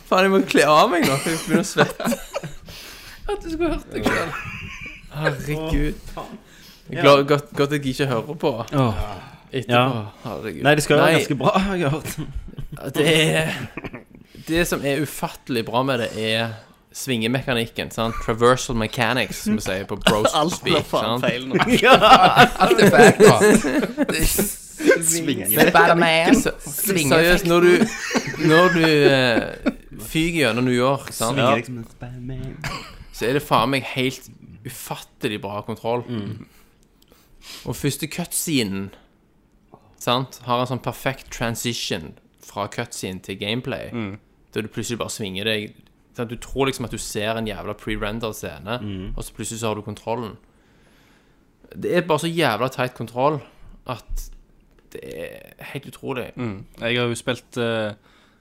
Faen, jeg må kle av meg nå, for jeg begynner å svette. *laughs* At du skulle hørt det sjøl. Herregud. Jeg er glad, godt, godt at jeg ikke hører på etterpå. Ja. Herregud. Nei, det skal jo være Nei. ganske bra, har jeg hørt. Det er Det som er ufattelig bra med det, er svingemekanikken. sant? Traversal mechanics, som vi sier på *laughs* bros speak. sant? Alt er feil, da. Spiderman. Så- Seriøst, når du Når du eh, fyker gjennom New York, sant? Svinger liksom en spam. så er det faen meg helt ufattelig bra kontroll. Og første cutscenen sant, har en sånn perfekt transition fra cutscene til gameplay. Mm. Da du plutselig bare svinger deg. Sant? Du tror liksom at du ser en jævla pre-rendered scene, Mm. og så plutselig så har du kontrollen. Det er bare så jævla teit kontroll at det er helt utrolig. Mm. Jeg har jo spilt eh,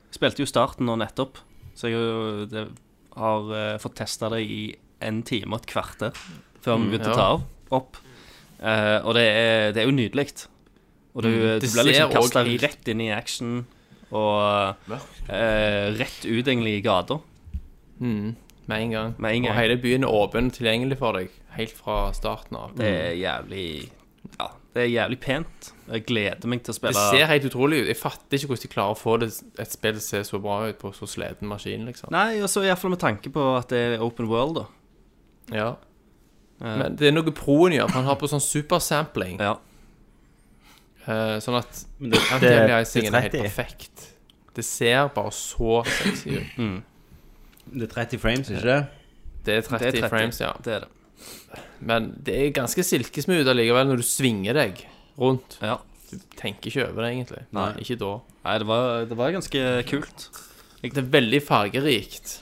Spilte jo starten nå nettopp, så jeg har, jo- det, har eh, fått testa det i en time og et kvarter før vi Mm, begynte ja. å ta av, opp. Eh, og det er, det er jo nydelig. Og du, Mm, du det blir liksom ser også kasta helt- rett inn i action og eh, rett ut egentlig i gata. Mm. Med en gang. Med en gang. Og hele byen er åpen tilgjengelig for deg helt fra starten av. Det er jævlig Ja, det er jævlig pent. Jeg gleder meg til å Det spille ser helt utrolig ut. Jeg fatter ikke hvordan de klarer å få det, et spill til å se så bra ut på så sliten maskin, liksom. Nei, og så iallfall med tanke på at det er open world, da. Ja. Eh. Men det er noe proen gjør, for han har på sånn supersampling. Ja. eh, sånn at Men det, det, anti-aliasingen er helt 30. perfekt. Det ser bare så sexy ut. det er 30 frames, ikke det? Det er 30, Det er 30. frames, ja. Det er det. Men det er ganske silkesmooth allikevel når du svinger deg rundt. Ja. Du tenker ikke over det, egentlig. Nei. Ikke da. Nei, det var, det var ganske kult. Det er veldig fargerikt.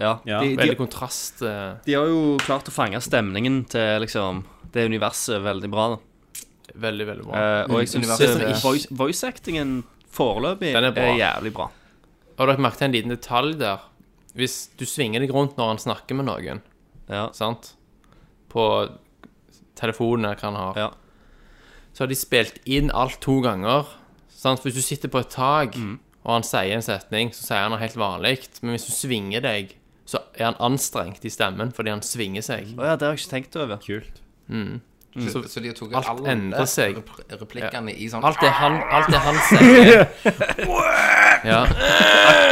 Ja. Ja, de, de, Veldig kontrast. eh, de har jo klart å fange stemningen til liksom det universet veldig bra. da. Veldig, veldig bra. Eh, og jeg syns universet er- voice, voice-actingen foreløpig Mm. Den er er, bra. jævlig bra. Og dere merket en liten detalj der. Hvis du svinger deg rundt når han snakker med noen, Ja. sant? På telefonen eller hva han har, Ja. så har de spilt inn alt to ganger. Sant? For Hvis du sitter på et tak, og han sier en setning, så sier han det helt vanlig. Men hvis du svinger deg, så er han anstrengt i stemmen fordi han svinger seg. Å ja, det har jeg ikke tenkt over. Kult. Så, så de har tatt Mm. Alt alle endrer seg. repl- replikkene i sånn Alt det han, alt det han sier Ja,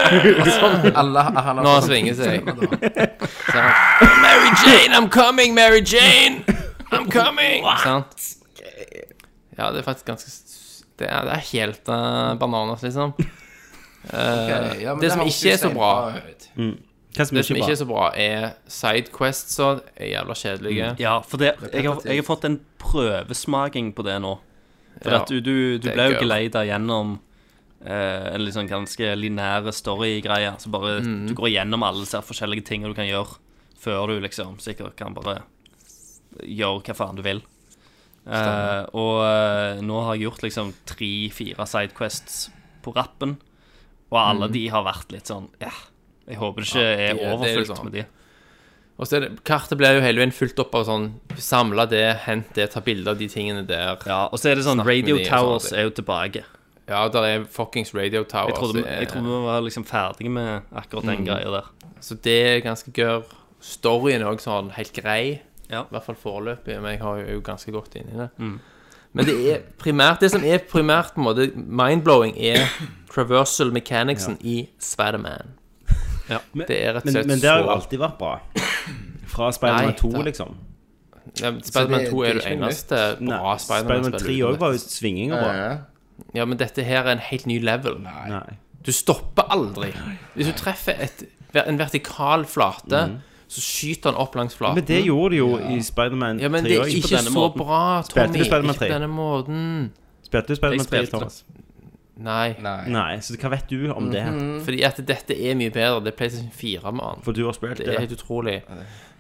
Alle han Når har han sånn- sånn. svinger *laughs* seg. Da. Mary Jane, I'm coming, Mary Jane! I'm coming! Sant? Ja, det er faktisk ganske s- Det er, det er helt eh, bananas, liksom. Ok, ja, men det som høres ikke jo er så bra. steinbra ut. Hva som Det som ikke er ikke er bra? så bra, er sidequests og er jævla kjedelige. Mm, Ja, for det, jeg, har, jeg har fått en prøvesmaking på det nå. For Ja, at du, du, du det er ble jo gøy. geleida gjennom eh, en litt sånn ganske lineær story-greie. Så bare Mhm. du går igjennom alle disse her forskjellige tingene du kan gjøre, før du liksom sikkert kan bare gjøre hva faen du vil. Eh, og eh, nå har jeg gjort liksom tre-fire sidequests på rappen, og alle de har vært litt sånn Ja, jeg håper det ikke Mhm. Ja, de- er det er overfylt liksom- med de. Og så er det, Kartet blir jo hele veien fulgt opp av sånn Samla det, hent det, ta bilde av de tingene der. Ja, og så er det sånn Snakk med Radio de og sånne Towers ting. er jo tilbake. Ja, der er fuckings Radio Tower. Jeg trodde, så er- jeg trodde vi var liksom ferdige med akkurat den greia der. Så det er ganske gørr. Storyen er òg sånn helt grei. Ja. I hvert fall foreløpig, men jeg har jo ganske godt inni det. Men det er primært Det som er primært på en måte mind-blowing, er traversal mechanicsen i Spiderman. Men, Det er rett og men, slett men det har jo så- alltid vært bra. Fra Nei, Spiderman 2, det- liksom. Ja, Spiderman det- 2 er det er det ikke noe eneste Nei, bra Spiderman Spiderman-spillet. 3 òg var jo svinginger bra. Ja, Ja, men dette her er en helt ny level. Nei. Du stopper aldri. Hvis du treffer et, en vertikal flate, så skyter han opp langs flaten. Men det gjorde de jo i Spiderman 3 ja, men det er også. ikke så bra, Spilte Tommy. du Spiderman ikke 3? på denne måten. Spilte du Spiderman 3, spilte. Thomas? Nei. Nei. Nei, så hva vet du om det? Mhm. Fordi at dette er mye bedre. Det er PlayStation 4 med annet. For du har spilt Det er helt det. utrolig.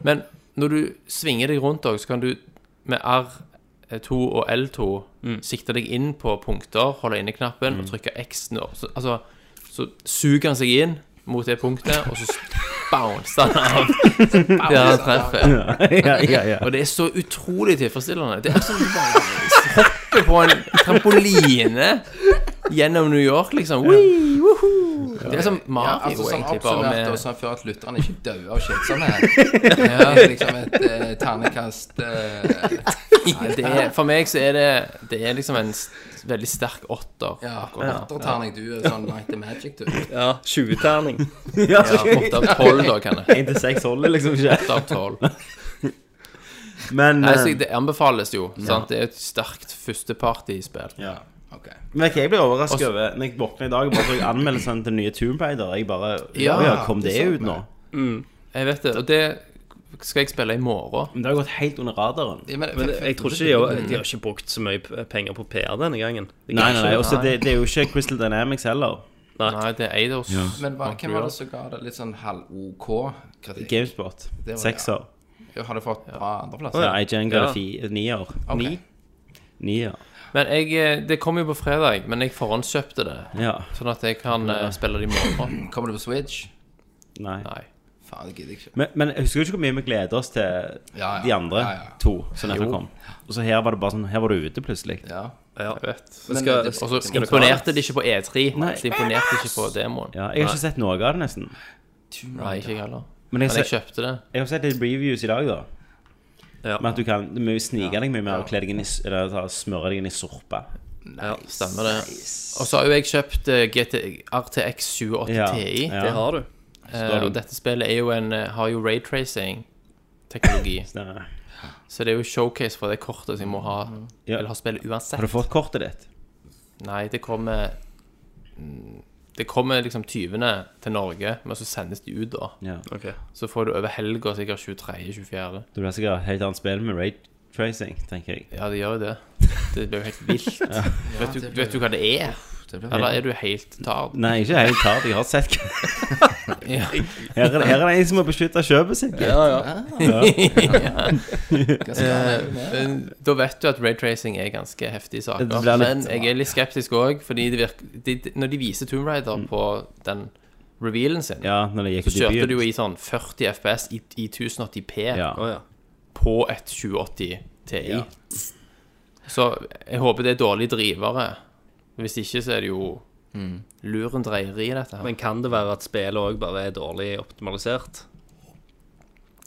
Men når du svinger deg rundt også, så kan du med R2 og L2 Mm. sikte deg inn på punkter, holde inne knappen og trykke X-en opp. Så, altså, så suger han seg inn mot det punktet, og så *laughs* bouncer *laughs* han av der han treffer. *laughs* ja, ja, *laughs* ja. Og det er så utrolig tilfredsstillende. Det er som du bare hopper på en trampoline gjennom New York, liksom. Wee, woohoo. Det er som Mario, Ja, altså sånn egentlig, bare Oppsummert med og sånn før at lytterne ikke dør av kjedsomhet. Ja, liksom et eh, ternekast eh, Nei, det er, for meg så er det Det er liksom en s- veldig sterk åtter. Ja, åtterterning. Du er sånn Night the Magic, du. Ja, 20-terning. ja. Ja, Åtte av tolv, da, kan jeg. 1 til 6 holder liksom ikke. Åtte av *laughs* tolv. Men, Nei, eh, så Det anbefales jo. Sant? Det er et sterkt førstepartyspill. eh, ja. Ok. men vet du hva jeg ble overrasket Også- over når jeg våkna i dag og bare så anmeldelsen til nye Tomb Raider. Jeg bare Ja, Ja, ja kom det, det så ut nå? Jeg vet det. Og det skal jeg spille i morgen. Men det har gått helt under radaren. Ja, men, Men *laughs* jeg tror ikke de har, de har Mm. ikke brukt så mye p- penger på PR denne gangen. Det Nei, kan nei, ikke- nei. Også, det, det er jo ikke Crystal Dynamics heller. Nei, det er Eidos. Men hva, hvem var det som ga det litt sånn halv-OK kritikk? Gamespot. var det, Sekser. Har det fått bra andreplass? Ja, IGN ga det fi- nier. Ok. Nier. Men jeg, eh, det kommer jo på fredag, men jeg forhåndskjøpte det. Ja. Sånn at jeg kan eh, spille det i morgen. Kommer det på Switch? Nei. Nei. Faen, det gidder jeg ikke. Men, men jeg husker jo ikke hvor mye vi gleder oss til Ja, ja. de andre Ja, ja. to som nettopp kom. Og så her var det bare sånn Her var du ute, plutselig. Ja. Ja. Jeg vet. Men skal, det- Og så skal du klare imponerte det ikke på E3. Nei. Så imponerte ikke på demoen. Ja, jeg har ikke sett noe av det, nesten. Nei, ikke jeg heller. Men jeg, Men jeg ser- kjøpte det. jeg har sett litt reviews i dag, da. Ja. Med at du kan du må jo snike deg mye mer og kle deg inn i, s- eller ta, smøre deg inn i sorpe. Ja, stemmer det. Og så har jo jeg kjøpt eh, GT RTX 780 Ja, Ti. ja. Det har du. eh, har du- Og dette spillet er jo en, eh, har jo raytracing-teknologi. *laughs* Stemmer. så det er jo showcase for det kortet som jeg må ha. Ja. Eller ha spillet uansett. Har du fått kortet ditt? Nei, det kommer mm, Det kommer liksom 20. til Norge, men så sendes de ut, da. Ja. Ok. Så får du over helga sikkert 23.-24. Du blir sikkert et helt annet spill med raid tracing, tenker jeg. Ja, det gjør *laughs* jo det. Det blir jo helt vilt. vet, du, vet du hva det er? Eller er du helt tard? Nei, ikke helt klart. Jeg har sett *laughs* her, er det- her er det en som må beskytte kjøpet sitt. *laughs* Ja. Ah. Eh, Men Da vet du at ray tracing er ganske heftig sak. Det blir Men litt- jeg er litt skeptisk òg, fordi det virker, de, de- når de viser Tomb Mm. Raider på den revealen sin, når det gikk så ut i kjørte du jo byen. i sånn 40 FPS i, i 1080P Ja. Å ja. på et 2080 Ti. Så jeg håper det er dårlige drivere. Hvis ikke så er det jo luren dreier i dette. her Men kan det være at spillet òg bare er dårlig optimalisert?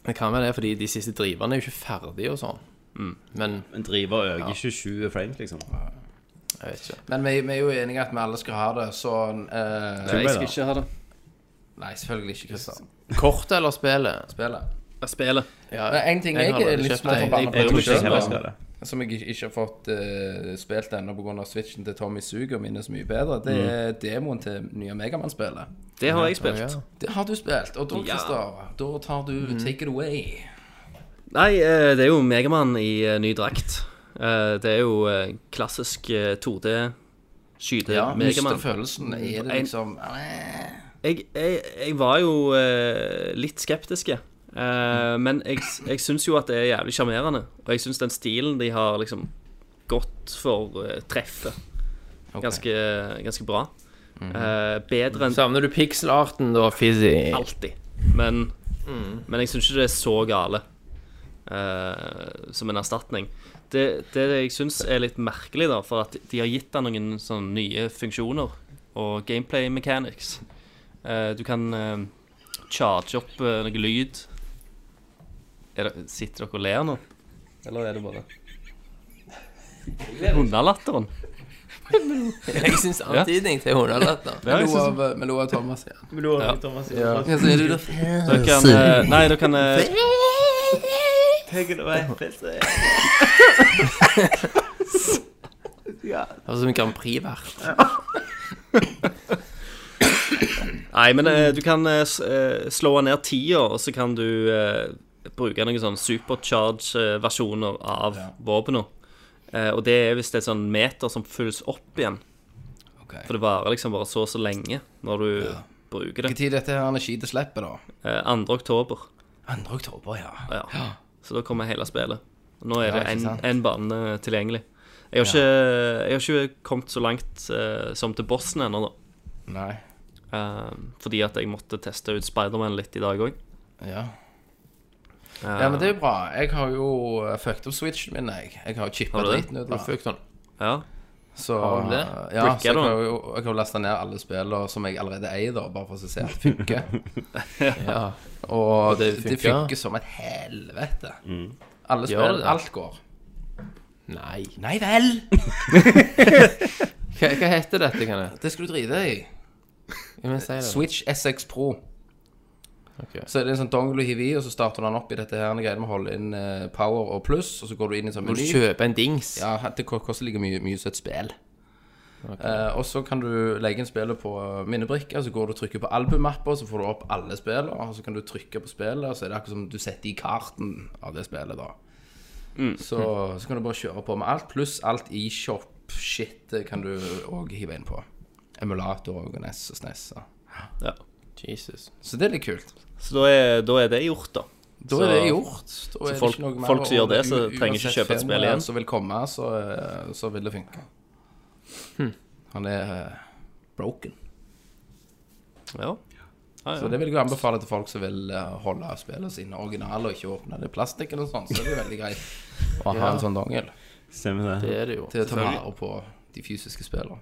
Det kan være det, fordi de siste driverne er jo ikke ferdige og sånn. Men En driver øker ikke 20 frames, liksom. jeg vet ikke. Men vi, vi er jo enige at vi alle skal ha det, så eh, Nei, jeg skal ikke ha det. Nei, selvfølgelig ikke, Kristian. Kortet eller spillet? Spillet. Spillet. Men en ting jeg, har er allerede litt kjøpt mer det. forbanna Jeg på tror meg ikke jeg selv, heller da, skal det. som jeg ikke- ikke har fått eh, spilt ennå pga. switchen til Tommy Suger min er så mye bedre, det er demoen til nye Megamann-spillet. Det har jeg spilt. Det har du spilt, og da, Christer, da tar du take it away. Nei, eh, det er jo Megamann i eh, ny drakt. Eh, Det er jo eh, klassisk 2D-skyte-Megamann. Ja, mister følelsen. Er det En- liksom jeg, jeg, jeg var jo eh, litt skeptiske. Eh, men jeg, jeg syns jo at det er jævlig sjarmerende. Og jeg syns den stilen de har liksom gått for eh, treffet Ok. ganske, ganske bra. Eh, bedre enn Savner du pixelarten da, Fizzy? alltid. Men, men jeg syns ikke det er så gale. eh, som en erstatning. Det, det jeg syns er litt merkelig, da, for at de har gitt han noen sånne nye funksjoner og gameplay mechanics. Eh, du kan eh, charge opp eh, noe lyd. Er det, sitter dere og ler nå? Eller er det bare Hundelatteren? Jeg syns antydning til hundelatter. Ja, jeg Vi lo synes- av- eh, Vi lo av Thomas igjen. Ja. Thomas, Ja, så er du der. Dere kan eh, Nei, dere kan eh, Høres ut som en Grand Prix-vert. Nei, men Mm. eh, du kan eh, s- eh, slå ned tida, og så kan du eh, bruke noen sånne supercharge-versjoner av våpnene. Eh, og det er hvis det er sånn meter som fylles opp igjen. Ok. For det varer liksom bare så og så lenge når du bruker det. Når dette her skyter slippet, da? Eh, 2. oktober. 2. oktober, ja. Ja. Så da kommer hele spillet. Nå er det ikke en- sant. en bane tilgjengelig. Jeg har, ikke, jeg har ikke kommet så langt eh, som til bossen ennå, da. Nei. Eh, fordi at jeg måtte teste ut Spiderman litt i dag òg. Ja. ja, men det er jo bra. Jeg har jo eh, fucked opp switchen min, jeg. Jeg har jo chippa Har du det? driten ut av den. Eh, Ja. Så, eh, Har du det? Ja, Bricker så jeg du den? har jo jeg har jo lasta ned alle spillene som jeg allerede eier, da, bare for å se at det funker. *laughs* Ja. Og det det funker, funker? Mm. som et helvete. Gjør Alle spiller, det? alt går. Nei. Nei vel! *laughs* Hva, hva heter dette, kan jeg? Det skal du drite i. Ja, men si det. Switch SX Pro. Ok. Så er det en sånn dongle du hiver i, og så starter du den opp i dette her greiene med å holde inn eh, power og pluss, og så går du inn i en sånn Må du meny. kjøpe en dings? Ja, det ko- koster like mye, mye som et spill. Eh, og så kan du legge inn spillet på minnebrikker, så går du og trykker på albummapper, så får du opp alle spillene, og så kan du trykke på spillet, og så er det akkurat som du setter i karten av det spillet, da. Så, så kan du bare kjøre på med alt, pluss alt i shop-shit kan du òg hive inn på. Emulator og NES og SNES. og- ja. Jesus. Så det er litt kult. Så da er, da er det gjort, da. Da Så- er det gjort. Da er det folk- ikke noe mer folk som å- gjør det, så u- trenger ikke uansett kjøpe et spill firmaet igjen. Som vil komme, så, eh, så vil det funke. Hm. Han er eh, broken. Ja. Ja, Så ja. det vil jeg jo anbefale til folk som vil eh, holde spillene sine originale og ikke åpne det plastikken og sånn. Så er det veldig greit *laughs* å ha en sånn dongel Stemmer det. Det er det jo. til å ta vare på de fysiske spillene.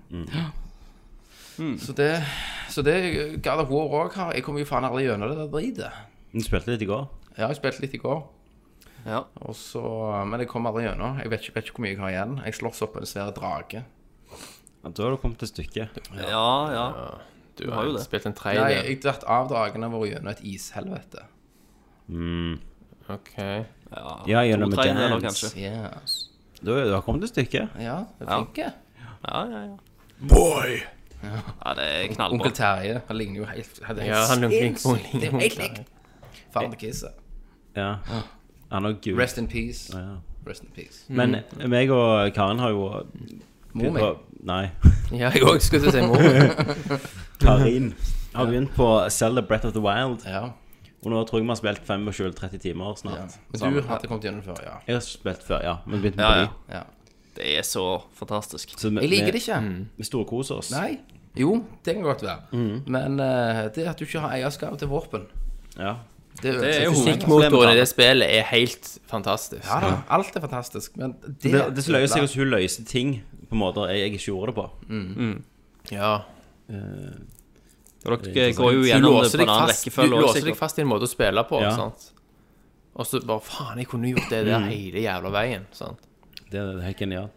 Hm. Så det Så det God of War òg har Jeg kommer jo faen aldri gjennom det der dritet. Du spilte litt i går. Jeg har jo spilt litt i går. Ja. Og så, eh, men jeg kom aldri gjennom. Jeg vet ikke, vet ikke hvor mye jeg har igjen. Jeg slåss opp en svær drage. Ja, da har du kommet til stykket. ja, ja. Du har jo jo det. det. spilt en Nei, tredjedel. jeg datt av dragen og vært gjennom et ishelvete. Ok. Mm. Ja, gjennom To et tredjedeler, dance. kanskje. Yes. Du, du har kommet til stykket. Ja, det funker. Ja, ja, ja. Boy! Ja, det er knallbra. Onkel Terje, han ligner jo helt han er helt Ja, han er flink på sinnssykt. Det er jo helt likt. Faen til kisset. Ja. Han og Gud. Rest in peace. Ja. Rest in peace. Men meg og Karen har jo Mor mi. Nei. *laughs* Ja, jeg òg skulle til å si mor. Karin har begynt på Zelda Breath of the Wild. Ja. Og nå tror jeg vi har spilt 25-30 timer ja. snart. Men du Sammen. hadde kommet gjennom før, ja. Jeg har spilt før, ja. Men begynt med Ja, ja, ja. ja. Det er så fantastisk. Så vi, Jeg liker det ikke. Mm. Vi storkoser oss. Nei. Jo, det kan godt være. Men eh, det at du ikke har eierskap til våpen Ja. Det, Det er jo Motoren i det spillet er helt fantastisk. Ja da, alt er fantastisk, men det Det, det som løser seg hos hun løser ting på måter jeg, jeg ikke gjorde det på. Ja. Og dere går jo gjennom det på en annen du rekkefølge låser også, deg sikkert. fast i en måte å spille på, Ja. sant? Og så bare sånn. Faen, jeg kunne gjort det der hele jævla veien. Sant? Det er helt genialt.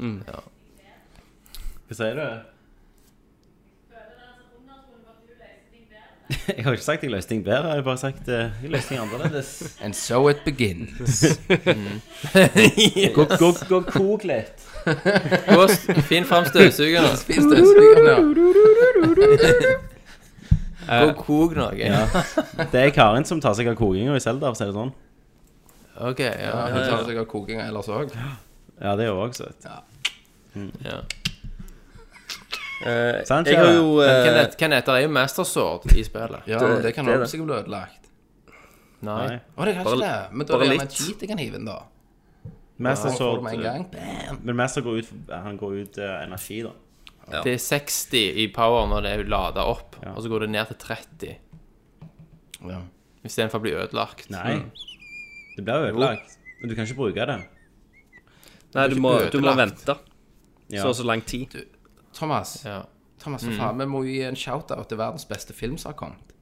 Mm. Ja. Hva sier du? *laughs* Jeg har ikke sagt jeg løste ting bedre, jeg har bare sagt eh, jeg løste ting *laughs* annerledes. And so *laughs* it begins. Gå, gå, gå kok litt. *laughs* Gå og s- Finn fram støvsugeren. Spis det, spis det. Gå og kok noe. Ja. *laughs* Det er Karin som tar seg av kokinga i Selda, for å si det sånn. Ok, ja. Hun tar seg av kokinga ellers òg. Ja, det er jo også søtt. ja. Sant, Eh, Jeg har Kjære? jo Men eh, Hvem het- hvem heter det? Det er jo Master Sword i spillet. Ja, Det- det, kan det er også det. sikkert bli ødelagt. Nei. Nei. Å, det kan ikke Bare- det. Men da er bare det gjerne litt. et cheat jeg kan hive inn, da. Mester Så får du med en Sword gang. Bam! Men Mester går ut Han går ut eh, energi, da. Det er 60 i power når det er lada opp, Ja. og så går det ned til 30 Ja. istedenfor å bli ødelagt. Nei. Mm. Det blir jo ødelagt. Men du kan ikke bruke det. Nei, du må, du må ødelagt. vente Ja. så og så lang tid. Thomas, Ja. Thomas, for faen, vi må jo gi en shout-out til verdens beste film som har kommet.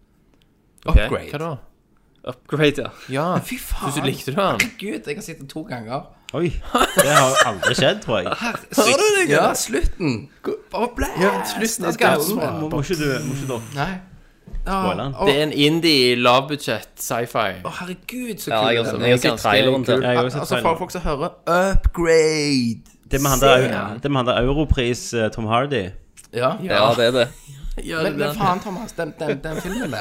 Ok. Upgrade. Hva da? Upgrade, ja. Ja. Fy faen. Synes du likte du den? Gud, jeg har sett den to ganger. Oi. Det har aldri skjedd, tror jeg. Har du det? Ja, slutten. Bare blæ! Slutten av Må, skallen. må ikke du Må ikke du opp- Nei. Ja, Spoiler den. å, Det er en indie lavbudsjett sci-fi. å, herregud, så ja jeg, har- kul jeg har sett ganske traileren til Jeg har jo sett Altså, for traileren. folk som hører Upgrade. Det med han der, det med han der Europris eh, Tom Hardy. Ja. Ja, det er det. Men, men faen, Thomas, den, den, den filmen *laughs* der,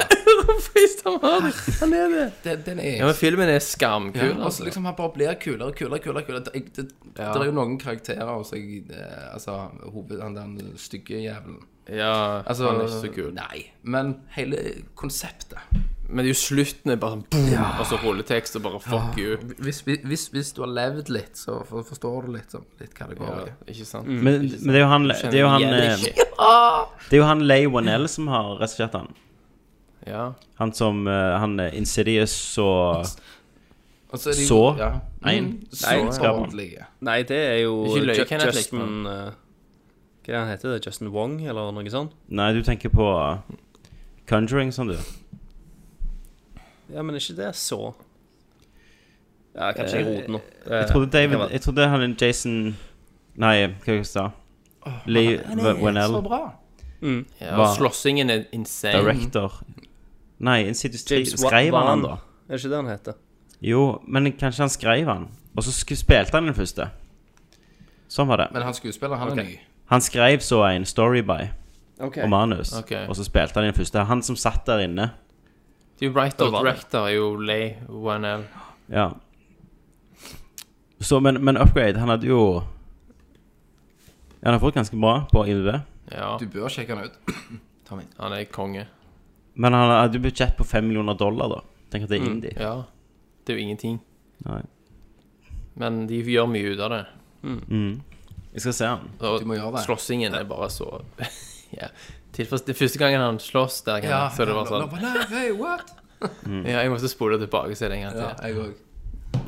Ah, Han er det. den, den er Ja, men filmen er skamkul. Ja, og så altså. liksom han bare blir kulere, kulere, kulere. kulere. Det, det, det er jo noen karakterer og så jeg, eh, Altså, hoved, han den stygge jævelen. Ja, Altså, han er ikke så kul. Nei. Men hele konseptet. Men det er jo slutten er bare sånn boom, og så rulletekst og bare fuck you. Hvis, hvis, hvis du har levd litt, så for- forstår du litt, sånn, litt hva det går i. Ja, ikke sant? Men, men det er jo han Det er jo han, Kjenner eh, igjen ikke. det er jo han Lay Wanell som har regissert han. Ja. Han som eh, Han eh, Insidious og Og så er det jo- Så? Ja. Nei, Mm, nei, så skal man. ordentlige. Nei, det er jo Ikke løye, Ju- Kenneth Justin eh, Hva er det han heter det? Justin Wong, eller noe sånt? Nei, du tenker på eh, Conjuring, som du. Ja, men er ikke det så Ja, kanskje jeg roter nå. Jeg trodde David Jeg trodde han Jason Nei, hva jeg sa Lay Wanell, Så bra. ja Hva? Slåssingen er insane. director. Nei, Insidious 3 James Wa- skrev han han, Wan. da? Er det ikke det han heter? Jo, men kanskje han skrev han. Og så sku- spilte han den første. Sånn var det. Men han skuespilleren, han er ny. Han skrev så en story by og manus, Ok. og så spilte han den første. Han som satt der inne. Det er jo writer Det var og det. director er jo Lay Wanel. Ja. Så, men, men Upgrade, han hadde jo Han har fått ganske bra på IMDb. Ja, Du bør sjekke han ut. han er konge. Men han hadde jo budsjett på 5 millioner dollar, da. Tenk at det er indie. Ja. Det er jo ingenting. Nei. Men de gjør mye ut av det. Mm. Jeg skal se han. Og Du må gjøre det. slåssingen er bare så *laughs* ja. Tilfreds, det er første gangen han slåss der, kan jeg- så er det bare sånn Nei, hey, what? Ja, jeg måtte spole tilbake og se det en gang til. Ja, jeg òg.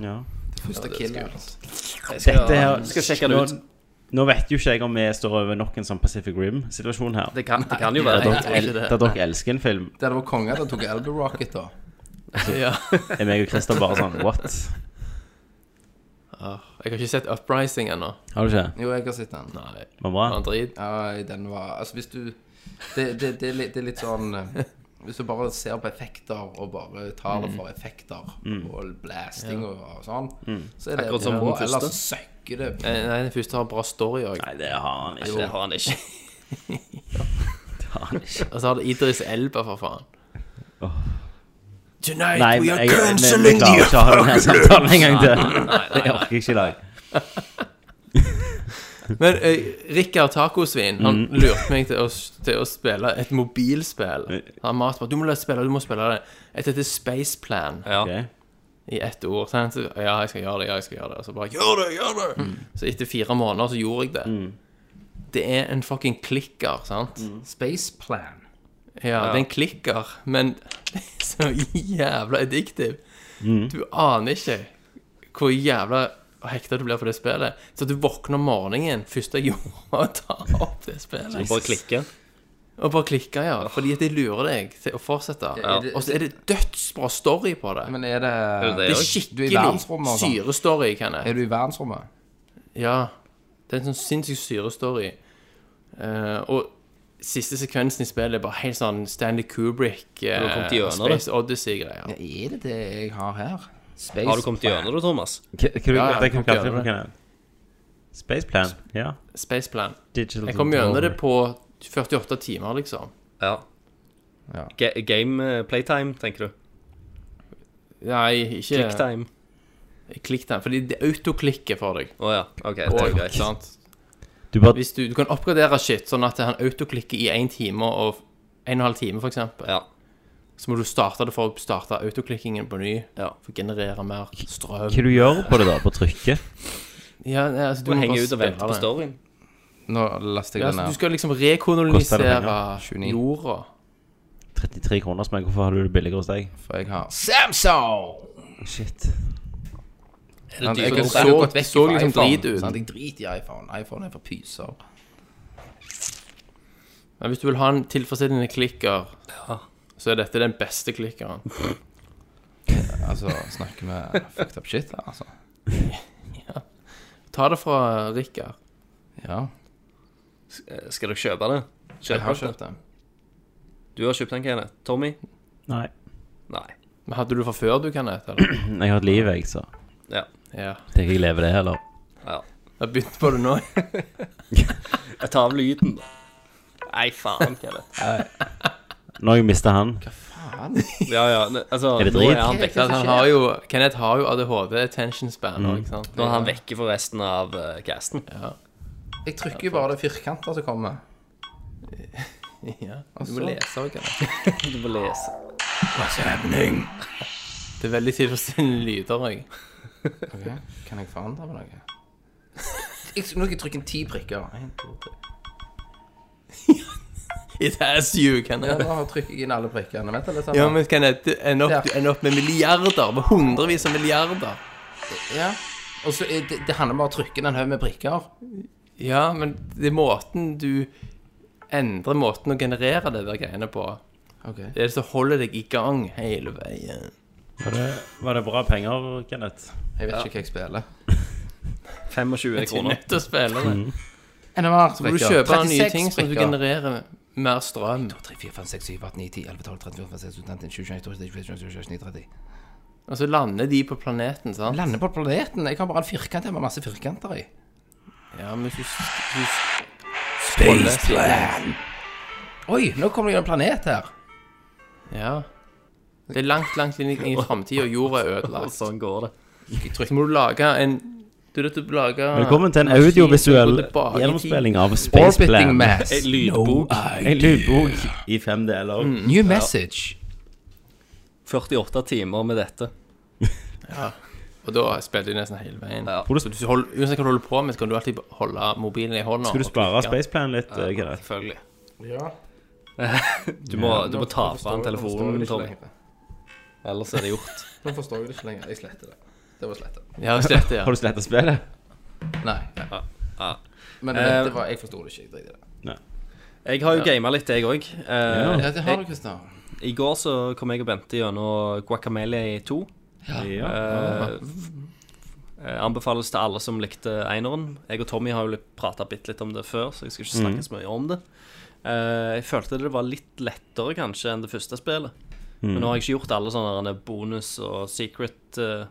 Ja. Første killer. Dette her Skal sjekke det ut. Nå, nå vet jo ikke jeg om vi står over nok en sånn Pacific Rim-situasjon her. Det kan, det kan jo være Der det. dere el- der dere elsker en film, Der det var konge, der tok Elder Rocket, da. Ja. er meg og Christer bare sånn What? Ah, Jeg har ikke sett Uprising ennå. Har du ikke? Jo, jeg har sett den. Nei, Var bra? han drit. Ja, den var Altså, hvis du Det, det, det, er, litt, det er litt sånn eh, Hvis du bare ser på effekter, og bare tar Mm. det for effekter, og blasting og, og sånn, Mm. så er det Akkurat som bra, den første. Ellers så søkker det. Eh, Nei, den første har bra story òg. Nei, det har han ikke. Det har han ikke. Og så har det Idris Elba, for faen. Tonight Nei, men jeg, men vi klarer ikke å ha denne samtalen en gang til. Det orker jeg ikke i dag. Men eh, Rikard Tacosvin Han Mm. lurte meg til å, til å spille et mobilspill. Han maste meg du må la- spille, du må spille det. Et heter Space Plan Ja. Ok. i ett ord. sant? Så, ja, jeg skal gjøre det, ja, jeg skal gjøre det. Og så bare gjør det, gjør det! Så etter fire måneder så gjorde jeg det. Det er en fucking klikker, sant? Space plan. Ja, det er en klikker, men *laughs* det er så jævla addictive. Du aner ikke hvor jævla hekta du blir på det spillet. Så du våkner om morgenen, første jeg *laughs* gjorde, og tar opp det spillet. Bare klikke. Og bare klikke, ja. Fordi at de lurer deg til å fortsette. Ja. Og så er det dødsbra story på det. Men er det, det det er Du er i skikkelig verdensrommet og sånn. syrestory, Kenneth. Er du i verdensrommet? Ja. Det er en sånn sinnssyk syrestory. Eh, og siste sekvensen i spillet er bare helt sånn Stanley Kubrick eh, Du har kommet gjennom det. Space Odyssey-greier. Ja, er det det jeg har her? Space Har du kommet gjennom det, Thomas? K- Hva Ja, ja, du- det kan ikke kan kalle gjøre for hva? Spaceplan? Ja. Spaceplan. Digital Jeg kom gjennom det på 48 timer, liksom. Ja. Ja. Ga- Game eh, playtime, tenker du? Nei, ikke Klicktime? Klikktime. Fordi det autoklikker for deg. Å ja. OK, det er Og- greit. sant? Du bare Hvis du, du kan oppgradere shit sånn at han autoklikker i én time og en og en halv time, f.eks. Ja. Så må du starte det for å starte autoklikkingen på ny. Ja. For å generere mer strøm. Hva du gjør på det, da? På trykket? Ja, nei, altså, Du må henger bare ut og spille venter på det. storyen. Nå laster Ja, jeg den altså, du ned. skal liksom Koster det rekolonisere penger? 29. jorda. 33 kroner, som jeg. Hvorfor har du det billigere hos deg? For jeg har Samsung! Shit. Sant? dyrt? Jeg Så- så, så- gått vekk så fra liksom iPhone, drit ut. sant? Jeg driter i iPhone. iPhone er for pyser. Men hvis du vil ha en tilfredsstillende klikker, så er dette den beste klikkeren. Altså, snakker vi fucked up shit her, altså. Ta det fra Rikard. Ja, Eh, Skal dere kjøpe det? jeg har kjøpt den. Du har kjøpt den, Kenneth. Tommy? Nei. Nei. Men hadde du fra før du kan ete det? Jeg har et liv, jeg, så Ja. Ja. tenker jeg lever det heller. Jeg begynte på det nå. Jeg tar av lyden, da. Nei, faen, Kenneth. Når jeg mister han Ja, ja. ne- Altså, Er det nå drit? er han vekke. Han har jo, Kenneth har jo ADHD, attention span Mm. òg, ikke sant? Nå er han vekke for resten av eh, casten. Jeg trykker jo bare det firkanter som kommer. Ja. Og Du må så- lese òg, Kenneth. Du må lese. Det er veldig tilfredsstillende lyder *laughs* òg. Ok, Kan jeg forandre på noe? Jeg, nå skal jeg trykke en ti prikker. En, to, tre. It has you, Ja, Kenneth. nå trykker jeg inn alle prikkene. Vent litt. Ja, men Kenneth, du ender opp, Ja. du ender opp med milliarder. Med hundrevis av milliarder. Ja. Og så er det, det handler bare om å trykke en haug med prikker. Ja, men det er måten du endrer måten å generere det der greiene på. Ok. Det er det som holder deg i gang hele veien. var det, var det bra penger, Kenneth? Jeg vet ikke hva jeg spiller. 25 Du er kroner. nødt til å spille det. Enda mer Du kjøper nye ting som du genererer mer strøm. 3, 4, 5, 6, 7, 8, 9, 10, 11, 12, 13, 14, 15, 16, 17, 18, 20, 21, 22, 23, 24, 25, 26, 29, 30. Og så lander de på planeten, sant? Lander på planeten. Jeg har bare en firkant her med masse firkanter i. Ja, men hvis du, s- du s- Oi, nå kommer det jo en planet her. Ja. Det er langt, langt inn i framtida, og jorda er ødelagt. *laughs* Sånn går det. Så må du lage en Du er nødt til å lage Velkommen til en maskin som går audiovisuell tilbake i tid. gjennomspilling av Orbiting Spaceplan. mass. En lydbok. En lydbok i fem deler. Mm. New message. 48 timer med dette. *laughs* Og da spiller de nesten hele veien. Ja. Så hvis du holder, uansett hva du holder på med, så kan du alltid holde mobilen i hånda. Skal du og spare klikke. Spaceplan litt, eh, Kenneth? Selvfølgelig. Ja. Du må, du må ta fram telefonen, Tommy. Ellers er det gjort. Nå forstår jeg det ikke lenger. Jeg sletter det. Det var slettet. Ja, slett det, ja. Har du sletta spillet? Nei. Men Eh, det var, jeg forstod det ikke. Jeg driter i det. *laughs* eh, Jeg har jo gamet litt, jeg òg. Ja. Ja, det eh, har du, Kristian. I går så kom jeg og Bente gjennom Guacamele 2. Ja. Eh, eh, anbefales til alle som likte eineren. Jeg og Tommy har jo prata bitte litt om det før, så jeg skal ikke snakke så mye om det. Eh, jeg følte det var litt lettere kanskje enn det første spillet. Men nå har jeg ikke gjort alle sånne derne bonus og secret eh,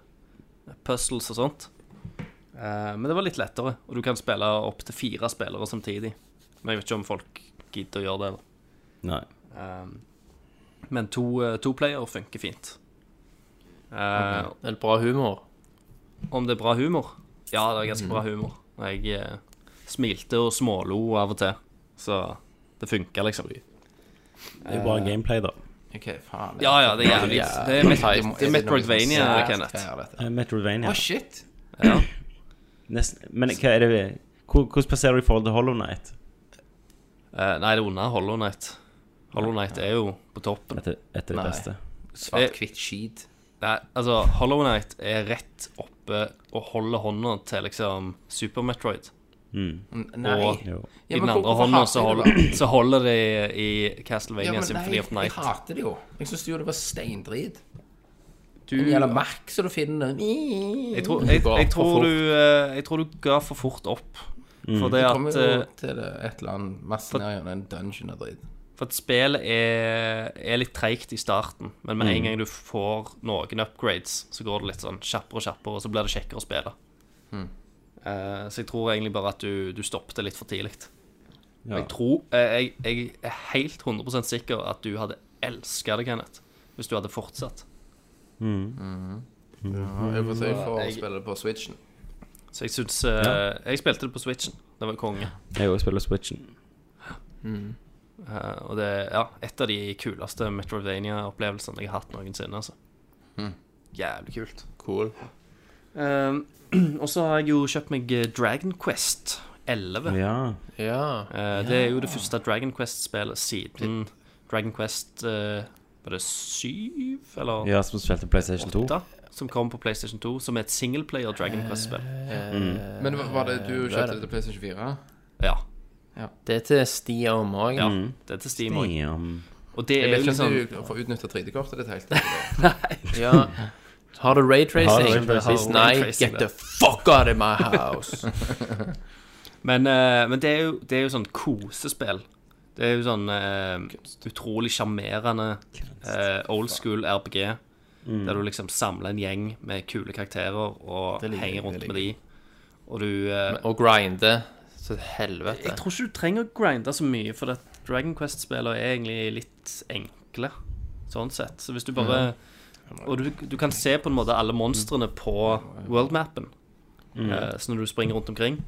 puzzles og sånt. Eh, men det var litt lettere, og du kan spille opp til fire spillere samtidig. Men jeg vet ikke om folk gidder å gjøre det. da. Nei. Men to, eh, to player funker fint. Eh, Det er bra humor. Om det er bra humor? Ja, det er ganske bra humor. Jeg eh, smilte og smålo av og til, så det funka liksom. Det er jo bra gameplay, da. Ok, faen. Ja, ja, det er jævlig. Det er, Met må- det er Metroidvania, Jævlig Kenneth. fair, dette. Eh, Metroidvania. Å, shit. Nesten, men hva er det vi hvor- Hvordan passerer du i forhold til Hollow Night? Eh, nei, det er under Hollow Night. Hollow Night er jo på toppen. Etter, etter det Nei. beste. Svart, hvitt skit. Nei, altså, Hollow Night er rett oppe og holder hånda til liksom Super Metroid. N- Nei. Og- Jo. Ja, I men den andre hvorfor hånda hater så jeg det holder, så holder de i da? Ja, Castlevania men Symphony of nei, jeg Night. hater det jo. Jeg syns jo det var steindrit. Du, En jævla merk som du eh, finner Jeg tror, jeg, går jeg, for tror fort. Mm. du, eh, jeg tror du ga for fort opp. For det Kommer at, jo eh, til det, et eller annet masse ned gjennom en dungeon og drit. for at spillet er, er litt treigt i starten, men med Mm. en gang du får noen upgrades, så går det litt sånn kjappere og kjappere, og så blir det kjekkere å spille. Mm. Eh, så jeg tror egentlig bare at du, du stoppet litt for tidlig. Ja. Jeg tror eh, jeg, jeg er helt 100 sikker at du hadde elska det, Kenneth, hvis du hadde fortsatt. Ja, jeg får si for å jeg- spille det på Switchen. Så jeg syns eh, Jeg spilte det på Switchen. Det var konge. Mm. Jeg òg spiller Switchen. Eh, og det er ja, et av de kuleste Metrovania-opplevelsene jeg har hatt noensinne. altså. Jævlig kult. Cool. Ehm, *clears throat* og så har jeg jo kjøpt meg eh, Dragon Quest 11. Ja. Ja. Eh, det er jo det første Dragon Quest-spillet siden Dragon Quest eh, Var det syv, eller ja, som spilte PlayStation Eh. 2. åtte? som kom på PlayStation 2, som er et singleplayer Dragon Quest-spill. Men hva- var Eh, det du kjøpte det til PlayStation 4? Ja. Det er til Stiom òg, Mm. ja. Det er til Steam også. Damn. Og det Jeg er vet jo ikke sånn- liksom om du får utnytta 3D-kortet ditt *laughs* helt. ja. Har du raytracing? Har du raytracing? Hvis nei, Raytracing, get the fuck out of my house. *laughs* Men, eh, men det, er jo, det er jo sånn kosespill. Det er jo sånn eh, utrolig sjarmerende eh, old school RPG. Mm. Der du liksom samler en gjeng med kule karakterer og liker jeg, henger rundt det med de. Og du eh, Og grinde. Så helvete. Jeg tror ikke du trenger å grinde så mye, for at Dragon Quest-spillene er egentlig litt enkle. Sånn sett. Så hvis du bare Og du, du kan se på en måte alle monstrene på worldmappen. eh, Så når du springer rundt omkring.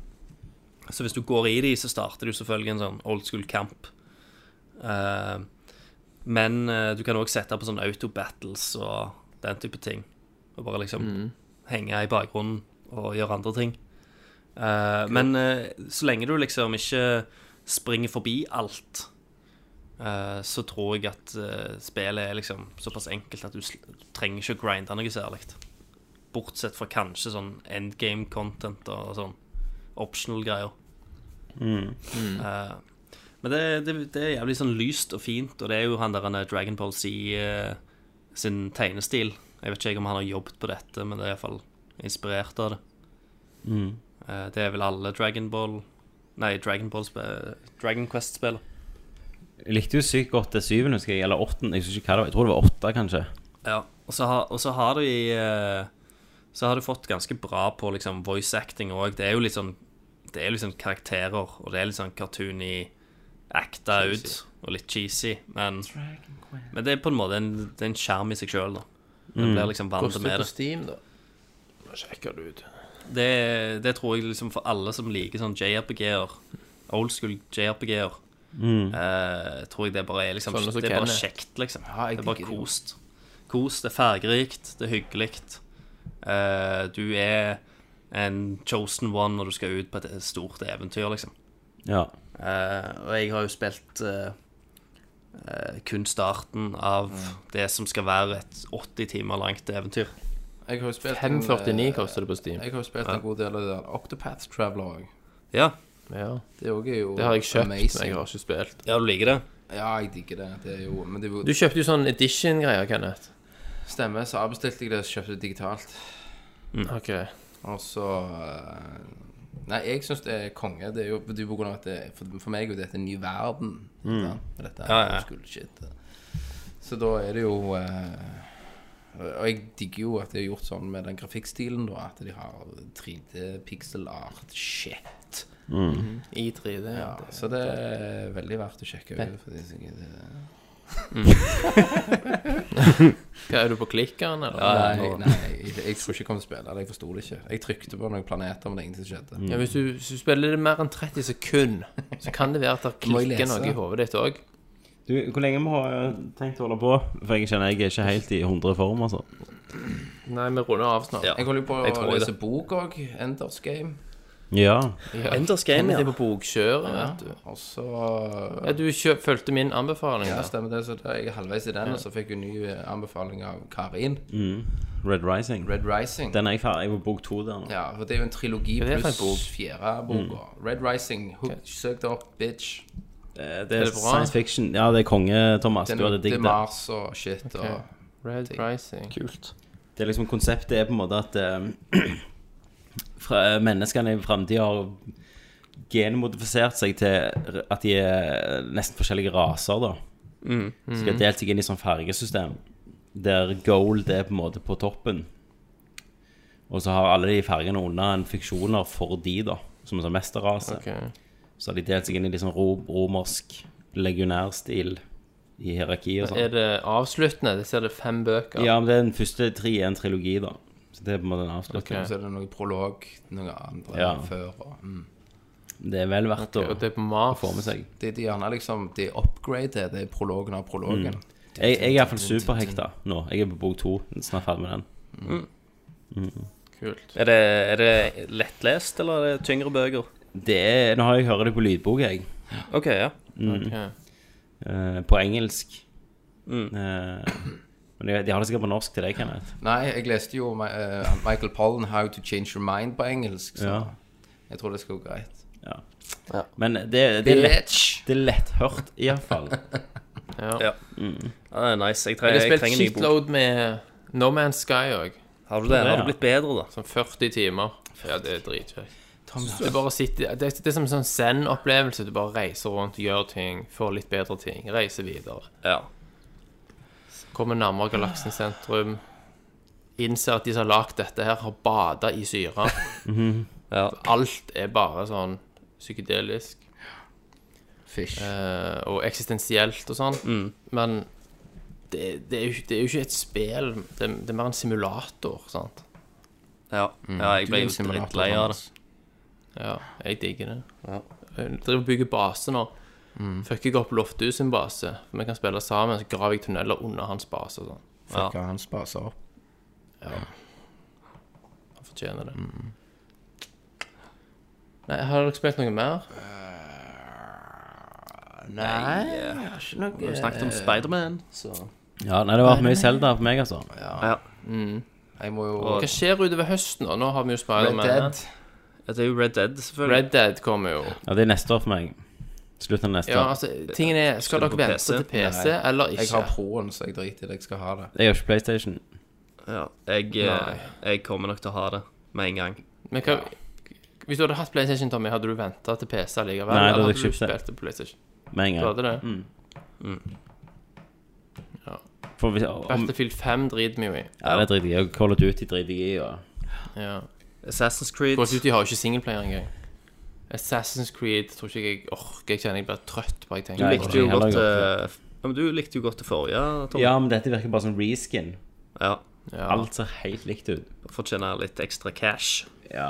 Så hvis du går i de, så starter du selvfølgelig en sånn old school kamp. Eh, Men eh, du kan òg sette på sånne auto-battles og den type ting. Og bare liksom henge i bakgrunnen og gjøre andre ting. Eh, men eh, så lenge du liksom ikke springer forbi alt, eh, så tror jeg at eh, spillet er liksom såpass enkelt at du sl trenger ikke å grinde noe særlig. Bortsett fra kanskje sånn endgame content og sånn optional greier. Eh, men det, det, det er jævlig sånn lyst og fint, og det er jo han der han er Dragon Ball Z eh, sin tegnestil. Jeg vet ikke om han har jobbet på dette, men det er iallfall inspirert av det. Eh, Det er vel alle Dragon Ball Nei, Dragon, Ball spe- Dragon Quest-spill. Jeg likte jo sykt godt det syvende, husker jeg. Eller åttende. Jeg, husker ikke hva det var. jeg tror det var åtte, kanskje. Ja, og så har, og så har du i eh, Så har du fått ganske bra på liksom voice acting òg. Det er jo litt sånn Det er liksom karakterer, og det er litt sånn cartoony acta ut, og litt cheesy, men Men det er på en måte en, det er en skjerm i seg sjøl, da. Det blir liksom vant Koster med på det. Steam, da. Nå sjekker du ut. det. Det tror jeg liksom for alle som liker sånn JRPG-er, old school JRPG-er, Mm. eh, tror jeg det bare er liksom Sånne som Det er bare Kenneth. kjekt, liksom. Ja, jeg det er bare digger det jo. kost. Kos, det er fargerikt, det er hyggelig. Eh, du er en chosen one når du skal ut på et stort eventyr, liksom. Ja. Eh, og jeg har jo spilt eh, eh, kun starten av Mm. det som skal være et 80 timer langt eventyr. Jeg har jo spilt en, eh, 549 koster det på Steam. Jeg har jo spilt en god del av det der Octopath Traveler òg. Ja, Ja. Det òg er jo Det har jeg kjøpt, men amazing. jeg har ikke spilt. ja du liker det? Ja, jeg digger det. Det er jo Men det er jo Du kjøpte jo sånn edition-greier, Kenneth. stemmer, så avbestilte jeg det, så kjøpte jeg det digitalt. Mm. Ok. Og så eh, Nei, jeg syns det er konge. Det er jo det er jo på grunn av at det, for, for meg er jo dette en ny verden. sant? Og Dette er Mm. Ja, ja. old school shit. Så da er det jo eh, Og jeg digger jo at det er gjort sånn med den grafikkstilen, da. At de har 3D-pixel-art shit. Mm. Mhm. I 3D. Ja, så det er veldig verdt å sjekke ut. For det er sikkert, eh, Hva, er du på klikkeren, eller? Nei, nei jeg, jeg tror ikke jeg kom til å spille det. Jeg forsto det ikke. Jeg trykte på noen planeter, men ingenting skjedde. Ja, hvis, du, hvis du spiller det mer enn 30 sekunder, så kan det være at det Må jeg klikker lese? noe i hodet ditt òg. Du, hvor lenge må vi ha tenkt å holde på? For jeg kjenner jeg er ikke helt i 100 form, altså. Nei, vi runder av snart. Ja. Jeg holder jo på Jeg å tror det. lese bok òg. Enders Game. Ja. Ja. Enders Game, Men Det ja. er på bokkjøret, vet du. Og så Ja, du kjøp, fulgte min anbefaling. ja, da. stemmer det. Så da er jeg halvveis i den, og så fikk jeg en ny eh, anbefaling av Karin. Mm. Red Rising. Red Rising. Den er jeg ferdig jeg er på bok to der nå. Ja, for det er jo en trilogi Hva er det for en Mm. pluss fjerde boka. Red Rising. Hook, Søk det opp, bitch. Eh, Det er, det bra? science fiction. Ja, det er konge, Thomas. Den Du er hadde til digg det. Mars og shit og Red Rising. Kult. Det er liksom konseptet er på en måte at eh, *clears throat* fra, eh, menneskene i framtida har genmodifisert seg til at de er nesten forskjellige raser, da. Så de har delt seg inn i sånn fargesystem der gold er på en måte på toppen. Og så har alle de fargene under en fiksjoner for de, da, som en sånn mesterrase. Ok. Så har de delt seg inn i litt sånn ro- romersk legionærstil i hierarki og sånn. Er det avsluttende? Det ser det fem bøker. Ja, men det er den første tre i en trilogi, da. Så det er på en måte en avslutning. Og så er det noe prolog, noe andre Ja. før og mm. Det er vel verdt Og det å er på Mars. få med seg. Det er gjerne liksom Det er upgrade, det er prologen av prologen. Mm. Jeg, jeg er iallfall superhekta nå. Jeg er på bok to. Snart ferdig med den. Kult. Er det, er det lettlest, eller er det tyngre bøker? Det er, nå har jeg hørt det på lydbok, jeg. OK, ja. Ok. Eh, på engelsk. Mm. Eh, Men de, de har det sikkert på norsk til deg, Kenneth. Nei, jeg leste jo eh, Michael Pollan 'How to Change Your Mind' på engelsk, så Ja. jeg tror det skal gå greit. Men det, det er lett Det er letthørt, *laughs* iallfall. Mm. Ja, det er nice. Jeg, Jeg trenger, har jeg spilt trenger en ny bok. shitload med No Man's Sky òg. Har du det? Har Ja. du blitt bedre, da? Sånn 40 timer. Ja, det er dritkjekt. Du bare sitter Det er, det er som en sånn zen-opplevelse. Du bare reiser rundt, gjør ting, får litt bedre ting, reiser videre. Ja. Kommer nærmere galaksen sentrum. Innser at de som har lagd dette her, har bada i syre. Ja. Alt er bare sånn psykedelisk Fish. eh, og eksistensielt og sånn. Men det, det, er jo, ikke- det er jo ikke et spill. Det, er- det er mer en simulator, sant. Ja. ja, jeg ble jo drittlei av det. Ja, jeg digger det. Jeg driver og bygger base nå. Fucker jeg opp Lofthus sin base, for vi kan spille sammen, så graver jeg tunneler under hans base og sånn. Fucka hans baser opp. Han fortjener det. Nei, har dere spilt noe mer? Nei, jeg har ikke Vi har noe jo snakket om Spiderman. så. Ja, nei, det har vært mye Selda for meg, altså. Jeg må jo Hva skjer utover høsten? da? Nå har vi jo Spiderman. Dead. Ja, Det er jo Red Dead, selvfølgelig. Red Dead kommer jo. Ja, det er neste år for meg. Slutten av neste Ja, år. altså, tingen er Skal Skal du dere på vente PC? til PC eller ikke? Jeg har proen, så jeg driter i det. Jeg skal ha det. Jeg har ikke PlayStation. Ja. Jeg, eh, jeg kommer nok til å ha det med en gang. Men hva, Hvis du hadde hatt PlayStation, Tommy, hadde du venta til PC likevel? Nei, da eller hadde hadde jeg Mm. du kjøpt det. spilt det på PlayStation? Med en Du hadde gang. det? For hvis, om, Battlefield 5 driter vi jo i. ja, det driter jeg i. og Call of Duty driter jeg i. Og... Ja. Assassin's Creed. Call of Duty har jo ikke singleplayer engang. Assassin's Creed tror ikke jeg orker. Jeg kjenner jeg blir trøtt bare jeg Du tenker likte på det. jo heller godt godt, eh, ja, men Du likte jo godt det forrige, Tom. Ja, men dette virker bare som reskin. ja. Ja, Alt ser helt likt ut. Fortjener litt ekstra cash. Ja.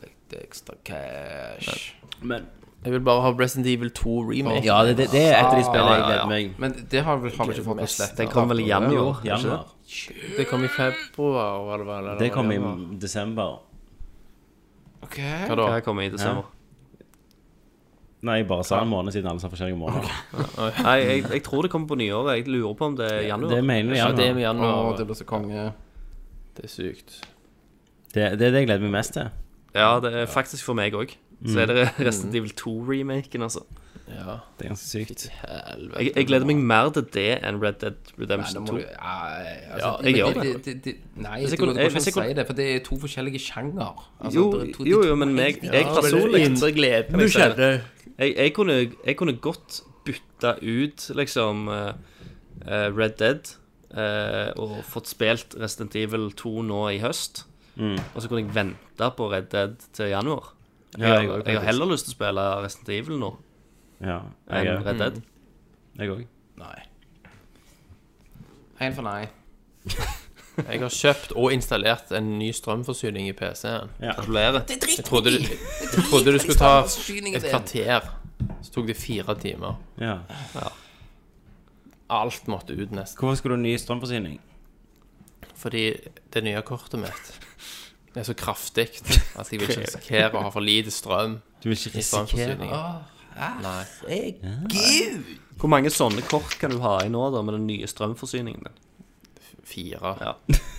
Litt ekstra cash. Men jeg vil bare ha Resident Evil 2 remake. Ja, det, det, det er et av de spillene jeg gleder meg Men det har vi har vi ikke fått å slette. Den kom vel i januar? ikke det? Januar. Det kom i februar, var det vel? eller Det var kom i januar? desember. Hva da? Hva kommer i desember? Nei, jeg bare sa en måned siden alle sa forskjellige måneder. Nei, jeg, jeg tror det kommer på nyåret. Jeg lurer på om det er januar. Det mener Ja, det er jeg. i Å, januar. det blir så konge. Det er sykt. Det, det er det jeg gleder meg mest til. Ja, det er faktisk for meg òg. Så er det Mm. Resident Evil 2-remaken, altså. Ja. Det er ganske sykt. Helvete. Jeg, jeg gleder meg mer til det enn Red Dead Nei, Redemption nå må 2. du Ja, altså, Ja, jeg gjør det. Nei, Hvis jeg du kunne- kan ikke hvis jeg si kunne- det, for det er to forskjellige sjanger. Altså, Jo, det er to- jo, de jo, to men jeg, helt- jeg Ja, personlig indre gleden du Jeg, jeg, kunne, jeg kunne godt bytta ut liksom eh, eh, Red Dead eh, og fått spilt Resident Evil 2 nå i høst. Mm. Og så kunne jeg vente på Red Dead til januar. Jeg, Ja, jeg har- også, jeg har heller lyst til å spille Resident Evil nå Ja, Mm. enn jeg òg. Red Dead. Jeg òg. Nei. Helt for nei. *laughs* Jeg har kjøpt og installert en ny strømforsyning i PC-en. Gratulerer. Jeg trodde, *laughs* du, jeg trodde du skulle ta et kvarter. Så tok det fire timer. Ja. Alt måtte ut nesten. Hvorfor skulle du ha ny strømforsyning? Fordi det nye kortet mitt er så kraftig at jeg vil ikke risikere å ha for lite strøm. Du vil ikke i risikere strømforsyningen. Nei. Hvor mange sånne kort kan du ha i nå da med den nye strømforsyningen din? Fire. Ja.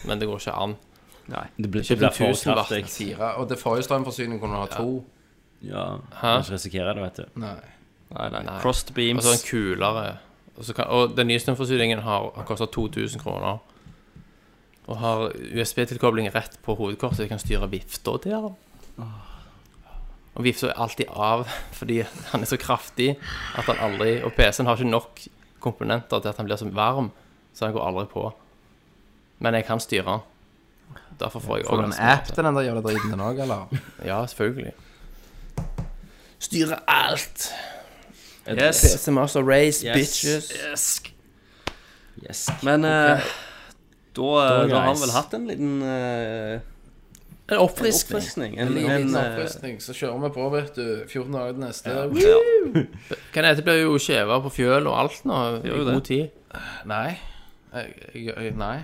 Men det går ikke an. Det blir Det det blir blir for 1000 watt. kraftig. Fire. Og det forrige strømforsyningen kunne ha to. Ja. Du kan ikke risikere det, vet du. Nei. Nei, nei. Crossed Og beams. så en kulere. Og, så kan, og den nye strømforsyningen har, har kosta 2000 kroner. Og har USB-tilkobling rett på hovedkortet, så jeg kan styre vifta til den. Og vifta er alltid av *laughs* fordi han er så kraftig at han aldri Og PC-en har ikke nok komponenter til at han blir så varm, så han går aldri på. Men jeg kan styre den. Derfor får jeg Får du en orgasme. app til den der jævla driten din òg, *laughs* eller? Ja, selvfølgelig. Styre alt. Yes. PC Master Race, Yes. bitches. yes. Yes. Men eh, da, eh, Da, da har guys. han vel hatt en liten eh, En oppfriskning. oppfriskning. En En, en, liten eh, opprustning, så kjører vi på, vet du. 14 dager til neste. ja. Kan dette blir jo skjeva på fjøl og alt nå i jo god det. tid. Nei. Jeg, jeg, jeg, nei.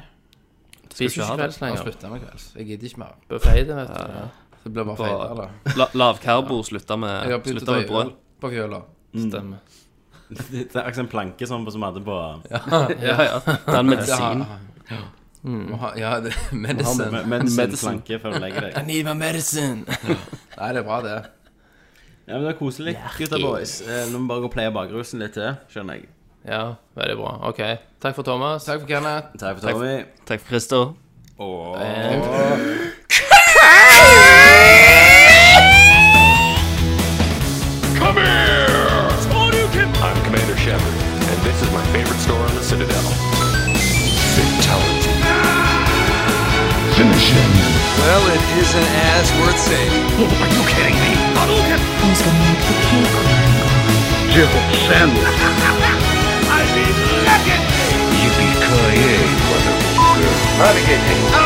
Spiser ikke kvelds Jeg har lenger. slutta med kvelds. Jeg gidder ikke mer. Buffeten, vet du. Det blir bare feil, eller? La, lavkarbo slutta med, Jeg har begynt å slutta ta med brød. øl på fjøla. Stemmer. *laughs* Det er akkurat en planke som som vi hadde på *laughs* Ja, ja. Det er en medisin. Ja, ja det, *laughs* medicine. med- med en Medicine. planke før du legger deg. Need my medicine. Nei, det er bra, det. Ja, men Det er koselig. Gutta boys. Eh, Nå må vi bare gå og pleie bakrusen litt til, skjønner jeg. Ja, veldig bra. OK. Takk for Thomas. Takk for Kenneth. Takk for Tommy. Takk for Christer. Come here! I'm Commander Shepard, and this is my favorite store on the Citadel. Fatality. Finish him. Well, it isn't as worth saying. Are you kidding me? Hadouken! Who's gonna make the cake? Jill Sandler. I see legacy! Yippee-ki-yay, motherfucker. How to get